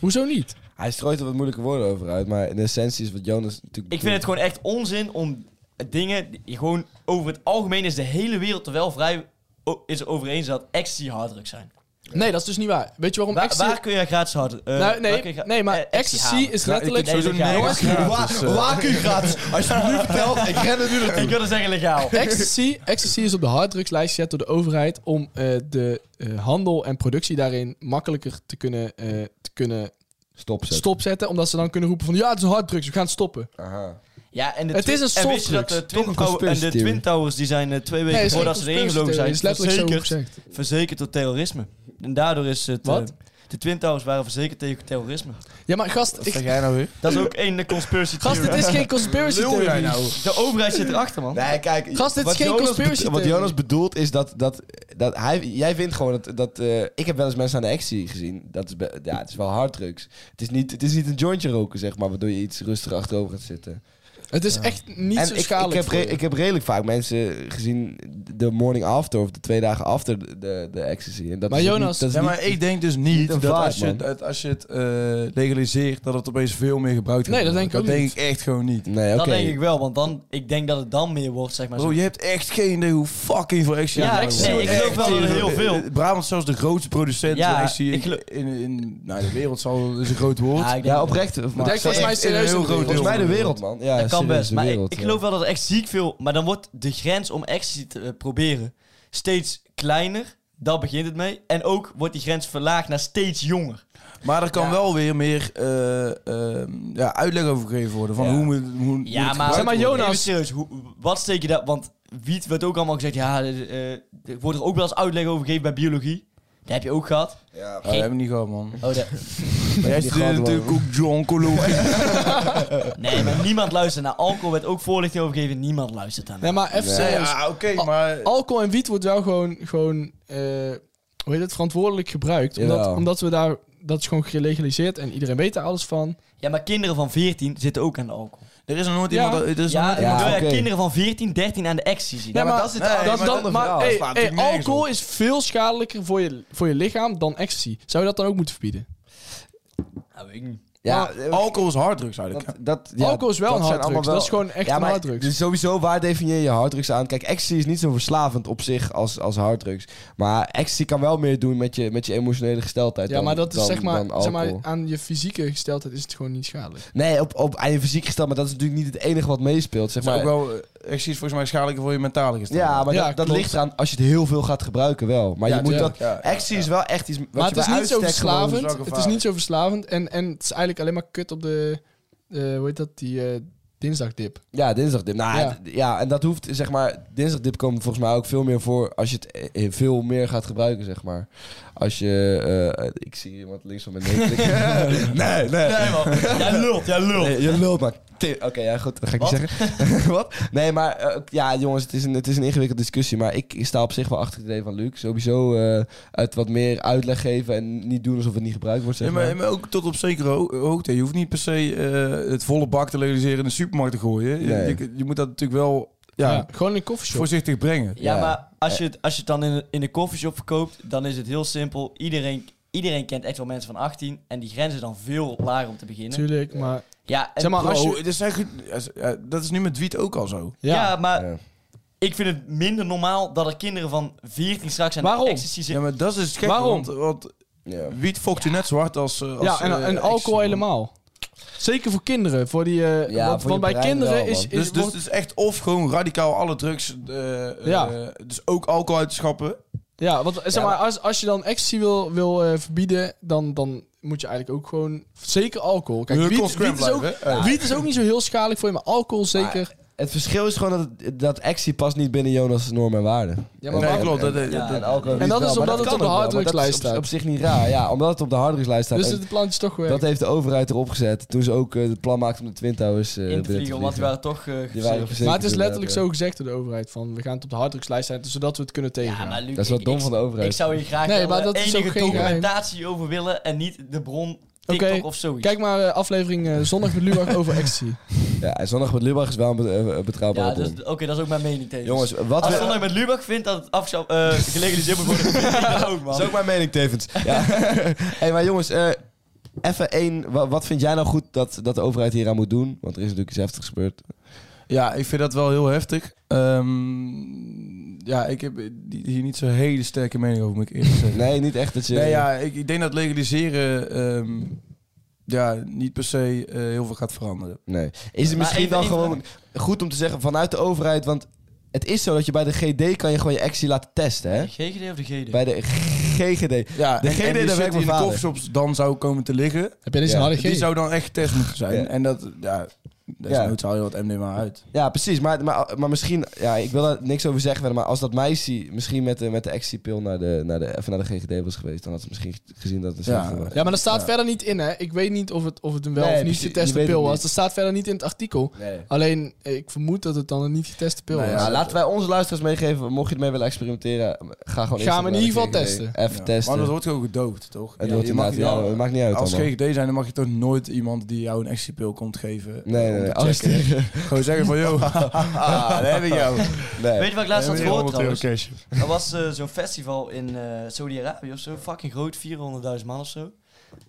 Speaker 1: Hoezo niet?
Speaker 2: Hij strooit er wat moeilijke woorden over uit, maar in essentie is wat Jonas natuurlijk...
Speaker 4: Ik vind het gewoon echt onzin om dingen, die gewoon over het algemeen is de hele wereld er wel vrij o- is er over eens dat ecstasy harddrugs zijn.
Speaker 1: Nee, dat is dus niet waar. Weet je waarom
Speaker 4: Waar,
Speaker 1: ecstasy...
Speaker 4: waar kun je gratis harddrugs? eh,
Speaker 1: Nou,
Speaker 4: waar kun
Speaker 1: nee,
Speaker 4: je gra-
Speaker 1: nee, maar
Speaker 4: eh,
Speaker 1: ecstasy
Speaker 4: halen?
Speaker 1: is
Speaker 3: Nou, ik
Speaker 1: letterlijk...
Speaker 4: Nee,
Speaker 3: vind sowieso
Speaker 4: legaal.
Speaker 3: nergens gratis, eh.
Speaker 2: Waku gratis. Als je het nu vertelt, ik ren het nu
Speaker 4: Ik wilde zeggen legaal.
Speaker 1: Ecstasy, ecstasy is op de harddrugslijst gezet door de overheid om eh, de eh, handel en productie daarin makkelijker te kunnen, eh, te kunnen
Speaker 2: Stop, zet.
Speaker 1: stopzetten. Omdat ze dan kunnen roepen van ja, het is een harddrugs, we gaan het stoppen.
Speaker 2: Aha.
Speaker 4: Ja, en de
Speaker 1: Het
Speaker 4: twi-
Speaker 1: is een
Speaker 4: en wist je dat
Speaker 1: softdrugs.
Speaker 4: de Twin,
Speaker 2: Toch een
Speaker 4: Tower- en de
Speaker 2: conspiracy
Speaker 4: twin
Speaker 2: theory.
Speaker 4: Towers die zijn eh, twee weken
Speaker 1: Nee, het is
Speaker 4: voordat
Speaker 1: geen
Speaker 4: ze erin gelopen
Speaker 1: conspiracy
Speaker 4: zijn,
Speaker 1: theory, het is letterlijk zo
Speaker 4: verzekerd,
Speaker 1: gezegd.
Speaker 4: verzekerd door terrorisme. En daardoor is het... eh,
Speaker 1: Wat?
Speaker 4: de Twin Towers waren verzekerd tegen terrorisme.
Speaker 1: Ja, maar gast,
Speaker 3: Zeg
Speaker 1: ik,
Speaker 3: jij nou weer?
Speaker 4: Dat is ook één conspiracy
Speaker 1: gast
Speaker 4: theory.
Speaker 1: dit is geen conspiracy
Speaker 3: Lul jij
Speaker 1: theory.
Speaker 3: nou?
Speaker 4: De overheid zit erachter, man.
Speaker 2: Nee, kijk.
Speaker 1: Oh. Gast, dit is
Speaker 2: wat
Speaker 1: geen
Speaker 2: Jonas
Speaker 1: conspiracy
Speaker 2: be- Wat
Speaker 1: theory.
Speaker 2: Jonas bedoelt is dat... dat, dat hij, jij vindt gewoon dat... dat eh, ik heb wel eens mensen aan de actie gezien. Dat is be- ja, het is wel harddrugs. Het is, niet, het is niet een jointje roken, zeg maar. Waardoor je iets rustiger achterover gaat zitten.
Speaker 1: Het is echt niet zo
Speaker 2: en ik, ik,
Speaker 1: schadelijk
Speaker 2: heb
Speaker 1: voor
Speaker 2: re-
Speaker 1: je.
Speaker 2: ik heb redelijk vaak mensen gezien... De morning after of de twee dagen after de, de, de ecstasy. En dat
Speaker 1: Maar
Speaker 2: is ook niet,
Speaker 1: Jonas-
Speaker 2: dat is
Speaker 3: Ja,
Speaker 2: niet-
Speaker 3: maar ik denk dus
Speaker 2: niet
Speaker 3: niet
Speaker 2: een
Speaker 3: dat als je
Speaker 2: vibe,
Speaker 3: het,
Speaker 2: man.
Speaker 3: het- als je het eh, legaliseert, dat het opeens veel meer gebruikt
Speaker 1: Nee,
Speaker 3: wordt.
Speaker 1: dat denk ik ook
Speaker 3: denk
Speaker 1: niet.
Speaker 3: ik echt gewoon niet.
Speaker 2: Nee, oké.
Speaker 4: Dat denk ik wel, want dan, ik denk dat het dan meer wordt, zeg maar.
Speaker 3: Bro,
Speaker 4: zo.
Speaker 3: je hebt echt geen idee hoe fucking veel ecstasy
Speaker 4: Ja,
Speaker 3: er nou
Speaker 4: ecstasy
Speaker 3: wordt.
Speaker 4: wordt Nee, ik geloof echt wel heel
Speaker 3: Eh,
Speaker 4: veel.
Speaker 3: eh, Brabant is zelfs de grootste producent
Speaker 4: Ja,
Speaker 3: van ecstasy in,
Speaker 4: ik geloof-
Speaker 3: in, in nou, de wereld zal, is een groot woord.
Speaker 4: Ja, ik denk
Speaker 2: Ja,
Speaker 4: dat-
Speaker 2: oprecht.
Speaker 3: Maar
Speaker 1: denk volgens mij
Speaker 3: echt
Speaker 1: serieus
Speaker 3: een
Speaker 1: in de
Speaker 3: heel groot
Speaker 1: wereld.
Speaker 3: deel
Speaker 2: Volgens mij de
Speaker 3: van
Speaker 2: wereld, man. Ja,
Speaker 4: dat kan
Speaker 2: serieus,
Speaker 4: best.
Speaker 2: de
Speaker 4: Maar
Speaker 2: wereld,
Speaker 4: ik, ik
Speaker 2: ja.
Speaker 4: geloof wel dat er echt ziek veel... Maar dan wordt de grens om ecstasy te eh, proberen steeds kleiner. Daar begint het mee. En ook wordt die grens verlaagd naar steeds jonger.
Speaker 3: Maar er kan
Speaker 4: Ja.
Speaker 3: wel weer meer eh, eh, ja, uitleg over gegeven worden. Van
Speaker 2: Ja.
Speaker 3: hoe, moet- hoe moet
Speaker 4: Ja,
Speaker 3: het
Speaker 4: maar,
Speaker 1: Zeg maar, Jonas.
Speaker 4: Even serieus, hoe, wat steek je daar? Want wiet wordt ook allemaal gezegd. Ja, eh, eh, er wordt er ook wel eens uitleg over gegeven bij biologie. Dat heb je ook gehad.
Speaker 2: Ja,
Speaker 3: Oh, dat heb ik niet gehad, man.
Speaker 4: Oh, dat-
Speaker 3: Maar jij
Speaker 2: Die
Speaker 3: studeert
Speaker 2: gaat
Speaker 3: natuurlijk ook oncologie.
Speaker 4: nee, maar niemand luistert naar alcohol. Werd ook voorlichting over gegeven. Niemand luistert aan.
Speaker 1: Nee, maar even serieus.
Speaker 3: oké, maar...
Speaker 1: alcohol en wiet wordt wel gewoon, gewoon eh, hoe heet het, verantwoordelijk gebruikt. Omdat,
Speaker 2: Jawel.
Speaker 1: omdat we daar, dat is gewoon gelegaliseerd en iedereen weet daar alles van.
Speaker 4: Ja, maar kinderen van 14 zitten ook aan de alcohol.
Speaker 3: Er is nog nooit
Speaker 1: Ja.
Speaker 3: iemand... Er is nog
Speaker 4: Ja,
Speaker 3: nooit
Speaker 2: ja,
Speaker 4: ik bedoel, ja,
Speaker 2: oké.
Speaker 4: kinderen van 14, 13 aan de ecstasy zitten.
Speaker 1: Ja, maar
Speaker 2: dat is het
Speaker 3: Nee,
Speaker 2: andere-
Speaker 3: maar
Speaker 2: een
Speaker 1: dat, dat-
Speaker 2: ander
Speaker 1: maar
Speaker 2: verhaal.
Speaker 1: hey,
Speaker 3: Dat slaat
Speaker 1: hey,
Speaker 3: natuurlijk nergens
Speaker 1: alcohol is veel schadelijker voor je, voor je lichaam dan ecstasy. Zou je dat dan ook moeten verbieden?
Speaker 4: Nou, weet ik niet.
Speaker 2: Ja,
Speaker 3: Maar Ah, alcohol is harddrugs eigenlijk.
Speaker 2: dat, dat, ja,
Speaker 1: alcohol is wel
Speaker 2: dat
Speaker 1: een
Speaker 2: zijn
Speaker 1: harddrugs.
Speaker 2: allemaal wel-
Speaker 1: Dat is gewoon echt
Speaker 2: ja,
Speaker 1: een
Speaker 2: maar
Speaker 1: harddrugs.
Speaker 2: Dus sowieso, waar definieer je harddrugs aan? Kijk, ecstasy is niet zo verslavend op zich als, als harddrugs. Maar ecstasy kan wel meer doen met je, met je emotionele gesteldheid
Speaker 1: ja,
Speaker 2: dan-
Speaker 1: maar dat is
Speaker 2: dan-
Speaker 1: zeg, maar,
Speaker 2: dan
Speaker 1: zeg maar,
Speaker 2: alcohol.
Speaker 1: aan je fysieke gesteldheid is het gewoon niet schadelijk.
Speaker 2: Nee, op, op, aan je fysiek gesteld, maar dat is natuurlijk niet het enige wat meespeelt. Zeg
Speaker 3: Het is
Speaker 2: maar.
Speaker 3: ook wel... eh, Ecstasy is volgens mij schadelijker voor je mentale gesteldheid.
Speaker 2: Ja, maar
Speaker 1: Ja,
Speaker 2: dat, dat
Speaker 1: klopt.
Speaker 2: ligt eraan als je het heel veel gaat gebruiken wel. Maar
Speaker 1: Ja,
Speaker 2: je moet
Speaker 1: tuurlijk.
Speaker 2: dat... Ecstasy is wel echt iets wat
Speaker 1: maar
Speaker 2: je
Speaker 1: het is
Speaker 2: bij
Speaker 1: niet zo
Speaker 2: uitstek gewoon-
Speaker 3: is wel
Speaker 1: verslavend. Het is
Speaker 3: gevaarlijk.
Speaker 1: niet zo verslavend. En, en het is eigenlijk alleen maar kut op de, eh, hoe heet dat, die eh, dinsdagdip.
Speaker 2: Ja, dinsdagdip. Nou,
Speaker 1: Ja.
Speaker 2: ja. ja, en dat hoeft, zeg maar, dinsdagdip komt volgens mij ook veel meer voor als je het eh, eh, veel meer gaat gebruiken, zeg maar. Als je, eh, eh, ik zie iemand links van mijn nek. nee, nee.
Speaker 4: Nee, man. Jij lult, jij lult.
Speaker 2: Nee, je lult maar. Te- Oké, ja, goed, dat ga ik
Speaker 4: Wat?
Speaker 2: niet zeggen. Wat? Nee, maar eh, ja, jongens, het is, een, het is een ingewikkelde discussie. Maar ik sta op zich wel achter het idee van Luc. Sowieso eh, het wat meer uitleg geven en niet doen alsof het niet gebruikt wordt, zeg
Speaker 3: Ja,
Speaker 2: maar.
Speaker 3: maar, maar ook tot op zekere ho- hoogte. Je hoeft niet per se eh, het volle bak te legaliseren in de supermarkt te gooien. Je-
Speaker 2: Nee.
Speaker 3: Je, je moet dat natuurlijk wel
Speaker 1: Ja.
Speaker 3: ja,
Speaker 1: gewoon in een koffieshop.
Speaker 3: voorzichtig brengen.
Speaker 4: Ja,
Speaker 2: Ja.
Speaker 4: maar als je, het, als je het dan in, de- in de koffieshop verkoopt, dan is het heel simpel. Iedereen, iedereen kent echt wel mensen van 18 en die grenzen dan veel lager om te beginnen.
Speaker 1: Natuurlijk, maar
Speaker 4: Ja, en-
Speaker 1: Zeg maar,
Speaker 3: Bro,
Speaker 1: als je-
Speaker 3: dit zijn goed- eh, dat is nu met wiet ook al zo.
Speaker 4: ja.
Speaker 1: Ja.
Speaker 4: maar
Speaker 2: Ja.
Speaker 4: ik vind het minder normaal dat er kinderen van 14 straks aan
Speaker 1: Waarom?
Speaker 4: ecstasy zitten.
Speaker 3: Ja, maar dat is het gekke.
Speaker 1: Waarom?
Speaker 3: Want, want
Speaker 2: Ja.
Speaker 3: wiet fokt je net zo hard als... eh, als
Speaker 1: Ja, en,
Speaker 3: eh,
Speaker 1: en alcohol
Speaker 3: ecstasy, man.
Speaker 1: helemaal. Zeker voor kinderen. Voor die, eh,
Speaker 2: Ja,
Speaker 1: want
Speaker 2: voor
Speaker 1: want
Speaker 2: je
Speaker 1: bij
Speaker 2: brein
Speaker 1: kinderen
Speaker 2: wel, man.
Speaker 1: is... is
Speaker 3: Dus, dus,
Speaker 1: wordt-
Speaker 3: dus echt of gewoon radicaal alle drugs, eh,
Speaker 1: Ja.
Speaker 3: eh, dus ook alcohol uit te schappen.
Speaker 1: ja, want eh, zeg
Speaker 2: Ja,
Speaker 1: maar, als, als je dan ecstasy wil, wil eh, verbieden, dan, dan moet je eigenlijk ook gewoon... Zeker alcohol. Kijk,
Speaker 3: Eh,
Speaker 1: wiet,
Speaker 3: consequent
Speaker 1: wiet, is ook,
Speaker 3: blijven, hè? Eh,
Speaker 1: wiet is ook niet zo heel schadelijk voor je, maar alcohol zeker...
Speaker 2: Het verschil is gewoon dat, het- dat actie past niet binnen Jonas' normen en waarden.
Speaker 1: Ja,
Speaker 2: maar
Speaker 1: maar
Speaker 3: nee,
Speaker 1: waarom-
Speaker 3: klopt. Dat,
Speaker 2: en-
Speaker 3: dat- dat-
Speaker 2: en alcohol
Speaker 1: En dat
Speaker 2: wel,
Speaker 1: is
Speaker 2: maar
Speaker 1: omdat het
Speaker 2: kan
Speaker 1: op de
Speaker 2: ook wel, maar dat
Speaker 1: harddrugslijst
Speaker 2: is op-
Speaker 1: staat.
Speaker 2: Op, zich niet raar, ja. Omdat het op de harddrugslijst staat.
Speaker 1: dus
Speaker 2: En
Speaker 1: het plan is toch
Speaker 2: dat
Speaker 1: gewerkt.
Speaker 2: heeft de overheid erop gezet toen ze ook eh, het plan maakten om de Twin Towers eh,
Speaker 4: in
Speaker 2: binnen
Speaker 4: te vliegen, want die waren toch eh,
Speaker 2: Die waren
Speaker 4: verzekerd.
Speaker 2: verzekerd
Speaker 1: Maar het is
Speaker 2: door de-
Speaker 1: letterlijk zo gezegd door de overheid. Van, we gaan het op de harddrugslijst zetten, zodat we het kunnen
Speaker 4: Ja,
Speaker 1: tegengaan.
Speaker 4: maar Luc,
Speaker 2: Dat is wel
Speaker 4: ik-
Speaker 2: dom
Speaker 4: ik-
Speaker 2: van de overheid.
Speaker 4: Ik zou hier graag
Speaker 1: Nee,
Speaker 4: wel
Speaker 1: maar
Speaker 4: de
Speaker 1: dat is ook
Speaker 4: enige
Speaker 1: geen geheim.
Speaker 4: documentatie over willen en niet de bron TikTok
Speaker 1: Oké,
Speaker 4: of zoiets.
Speaker 1: Kijk maar eh, aflevering eh, zondag met Luwak over ecstasy.
Speaker 2: Ja, en zondag met Lubach is wel een be- eh, een betrouwbare
Speaker 4: ja, dus, Ah,
Speaker 2: bron.
Speaker 4: oké, dat is ook mijn mening tegen. Dus
Speaker 2: Jongens, wat
Speaker 4: als
Speaker 2: we...
Speaker 4: Sondag met Lubach vindt dat het afgeschaft, eh gelegaliseerd moet worden, vind ik dat ook, man.
Speaker 2: Dat is ook mijn mening tevens. Ja. hey, maar jongens, eh, even één. Wat, wat vind jij nou goed dat, dat de overheid hieraan moet doen? Want er is natuurlijk iets heftigs gebeurd.
Speaker 3: Ja, ik vind dat wel heel heftig. Ehm, ja, ik heb hier niet zo'n hele sterke mening over, moet ik eerlijk zeggen.
Speaker 2: Nee, niet echt dat je...
Speaker 3: Nee, ja, ik, ik denk dat legaliseren ehm, ja, niet per se eh, heel veel gaat veranderen.
Speaker 2: Nee. Is het
Speaker 4: Maar
Speaker 2: misschien
Speaker 4: even-
Speaker 2: wel
Speaker 4: even-
Speaker 2: gewoon goed om te zeggen vanuit de overheid? Want het is zo dat je bij de GD kan je gewoon je actie laten testen, hè?
Speaker 4: GGD of de GD?
Speaker 2: Bij de GGD.
Speaker 3: Ja,
Speaker 2: De
Speaker 3: en-
Speaker 2: GD
Speaker 3: en die
Speaker 2: daar werkt mijn
Speaker 3: shit die in de
Speaker 2: vader.
Speaker 3: coffeeshops dan zou komen te liggen,
Speaker 1: Heb jij deze
Speaker 2: Ja,
Speaker 1: harde
Speaker 3: die
Speaker 1: G?
Speaker 3: zou dan echt getest moeten zijn.
Speaker 2: Ja.
Speaker 3: En dat, ja, desnoods haal je wat MDMA uit.
Speaker 2: Ja, precies. Maar, maar, maar misschien... Ja, ik wil daar niks over zeggen verder. Maar als dat meisje misschien met de, met de actiepil naar de, naar, de, even naar de GGD was geweest... dan had ze misschien gezien dat het een
Speaker 3: Ja.
Speaker 2: strafbaar was.
Speaker 1: Ja, maar dat staat
Speaker 3: Ja.
Speaker 1: verder niet in, hè. Ik weet niet of het, of het een wel
Speaker 2: Nee,
Speaker 1: of niet
Speaker 2: precies, je
Speaker 1: geteste
Speaker 2: weet
Speaker 1: pil
Speaker 2: het
Speaker 1: was.
Speaker 2: niet.
Speaker 1: Dat staat verder niet in het artikel.
Speaker 2: Nee.
Speaker 1: Alleen, eh, ik vermoed dat het dan een niet geteste pil
Speaker 3: Nou
Speaker 1: was.
Speaker 3: ja,
Speaker 2: Ja, laten wij onze luisteraars meegeven. Mocht je ermee willen experimenteren, ga gewoon
Speaker 1: Ga
Speaker 2: eerst
Speaker 1: hem
Speaker 2: naar
Speaker 1: in
Speaker 2: de
Speaker 1: ieder geval
Speaker 2: GGD.
Speaker 1: testen.
Speaker 2: Even
Speaker 3: Ja.
Speaker 2: testen.
Speaker 3: Maar dat wordt gewoon gedoofd, toch?
Speaker 2: Het
Speaker 3: Ja,
Speaker 2: wordt
Speaker 3: je mag-
Speaker 2: inderdaad, ja,
Speaker 3: ja,
Speaker 2: het maakt niet uit
Speaker 3: als
Speaker 2: allemaal.
Speaker 3: GGD zijn, dan mag je toch nooit iemand die jou een actiepil komt geven. eh,
Speaker 2: Nee, Ah, nee,
Speaker 3: om
Speaker 2: nee.
Speaker 3: te
Speaker 2: Alles
Speaker 3: checken.
Speaker 2: tegen.
Speaker 3: Gewoon zeggen van, joh, haha, daar heb ik jou.
Speaker 4: Weet
Speaker 2: Nee.
Speaker 4: je wat ik laatst had gehoord trouwens?
Speaker 3: cash.
Speaker 4: Er was eh, zo'n festival in eh, Saudi-Arabië of zo, fucking groot, 400.000 man of zo.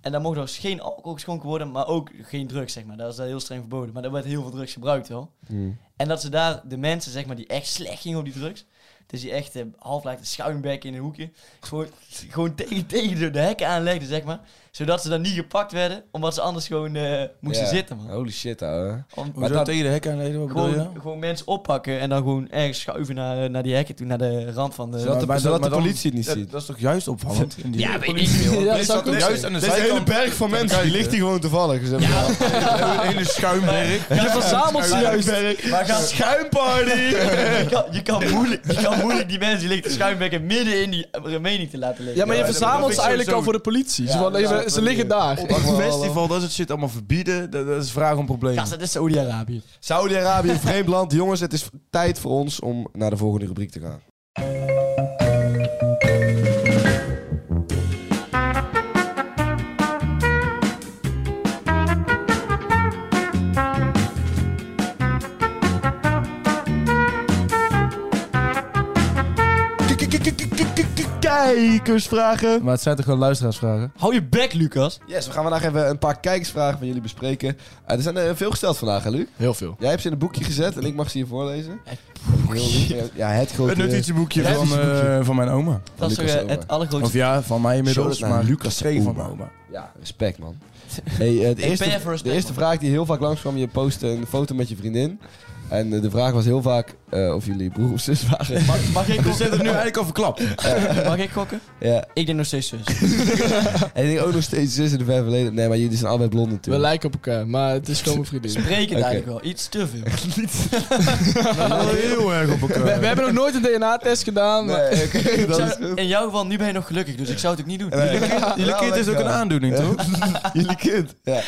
Speaker 4: En daar mocht dus geen alcohol geschonken worden, maar ook geen drugs, zeg maar. Dat is daar heel streng verboden, maar er werd heel veel drugs gebruikt wel.
Speaker 2: Hmm.
Speaker 4: En dat ze daar de mensen, zeg maar, die echt slecht gingen op die drugs. Dus die echt eh, half lijkt een schuimbek in een hoekje. Gewoon, gewoon tegen, tegen de, de hekken aanlegden, zeg maar. Zodat ze dan niet gepakt werden, omdat ze anders gewoon eh, moesten
Speaker 2: Ja.
Speaker 4: zitten, man.
Speaker 2: Holy shit, ouwe.
Speaker 4: Om-
Speaker 3: Hoezo
Speaker 2: dat-
Speaker 3: tegen de hek aanleden, wat bedoel je?
Speaker 4: gewoon, gewoon mensen oppakken en dan gewoon ergens schuiven naar, eh, naar die hekken toe, naar de rand van de...
Speaker 2: Zodat de-
Speaker 3: Maar- maar
Speaker 2: zodat
Speaker 3: dan-
Speaker 2: de politie het niet
Speaker 3: dat-
Speaker 2: ziet.
Speaker 3: Dat is toch juist opvallend? in die-
Speaker 4: Ja, weet ik
Speaker 3: politie,
Speaker 4: veel.
Speaker 1: Ja,
Speaker 3: joh.
Speaker 1: dat
Speaker 3: Politie
Speaker 1: zou
Speaker 3: staat
Speaker 1: ik ook
Speaker 3: juist
Speaker 1: zeggen.
Speaker 3: aan de zijkant.
Speaker 2: berg van
Speaker 3: mensen, die ligt
Speaker 2: hier gewoon toevallig. ja.
Speaker 3: Een hele schuimberg.
Speaker 1: Je verzamelt ze juist.
Speaker 4: Maar ga
Speaker 2: Schuimparty!
Speaker 4: je, kan, je, kan moeilijk, je kan moeilijk die mensen die liggen te schuimbekken midden in die eh, mening te laten liggen.
Speaker 1: Ja, maar je
Speaker 3: Ja, dat
Speaker 1: verzamelt
Speaker 3: vind
Speaker 1: ze
Speaker 3: ik
Speaker 1: eigenlijk
Speaker 3: sowieso-
Speaker 1: al voor de politie. Zo
Speaker 2: Ja,
Speaker 1: van,
Speaker 2: dat
Speaker 1: even-
Speaker 2: is
Speaker 1: ze
Speaker 2: wel
Speaker 1: liggen
Speaker 2: leuk.
Speaker 1: daar.
Speaker 3: Op een festival, dat soort shit allemaal verbieden, dat, dat is vraag om problemen.
Speaker 4: Gast, dat is Saudi-Arabië.
Speaker 2: Saudi-Arabië, een vreemd land. Jongens, het is tijd voor ons om naar de volgende rubriek te gaan. Kijkersvragen.
Speaker 3: Maar het zijn toch gewoon luisteraarsvragen?
Speaker 4: Hou je bek, Lucas.
Speaker 2: Yes, we gaan vandaag even een paar kijkersvragen van jullie bespreken. Eh, er zijn er veel gesteld vandaag, hè, Luc?
Speaker 1: Heel veel.
Speaker 2: Jij hebt ze in een boekje gezet en ik mag ze hier voorlezen. Heel lief. Ja, het grote...
Speaker 3: Het notitieboekje
Speaker 2: Ja,
Speaker 3: van,
Speaker 2: notitieboekje.
Speaker 3: eh, van mijn oma.
Speaker 4: Dat is toch,
Speaker 2: Lucas
Speaker 4: eh,
Speaker 2: Oma.
Speaker 4: het allergrootste...
Speaker 3: Of ja, van mij inmiddels,
Speaker 2: Shout-out
Speaker 3: maar
Speaker 2: naar
Speaker 3: Lucas
Speaker 2: Lucas
Speaker 3: schreef van
Speaker 2: Oma.
Speaker 3: mijn oma.
Speaker 2: Ja, respect, man. Hey, eh, de
Speaker 4: ben
Speaker 2: eerste,
Speaker 4: er voor respect,
Speaker 2: de eerste
Speaker 4: man.
Speaker 2: vraag die heel vaak langskwam, je postte een foto met je vriendin. En eh, de vraag was heel vaak eh, of jullie broer of zus waren.
Speaker 4: Mag, mag, ik
Speaker 3: Dus zet het nu
Speaker 4: gokken?
Speaker 3: eigenlijk al verklapt.
Speaker 4: mag ik gokken?
Speaker 2: ja.
Speaker 4: Ik denk nog steeds zus.
Speaker 2: En ik denk ook nog steeds zus in de ver verleden. Nee, maar jullie zijn allebei blond
Speaker 1: We
Speaker 2: natuurlijk.
Speaker 1: lijken op elkaar, maar het is gewoon een vriendin.
Speaker 4: Breken
Speaker 2: Oké.
Speaker 4: eigenlijk wel. Iets te veel.
Speaker 3: Heel erg op
Speaker 1: We,
Speaker 3: elkaar.
Speaker 1: we hebben nog nooit een DNA-test gedaan. maar-
Speaker 2: Nee, oké, dat is goed.
Speaker 4: In jouw geval, nu ben je nog gelukkig, dus ik zou het ook niet doen.
Speaker 2: Eh,
Speaker 3: Jullie kind, jullie
Speaker 2: Ja,
Speaker 3: kind is ook
Speaker 2: lekker.
Speaker 3: een aandoening, toch?
Speaker 2: Jullie kind. Ja.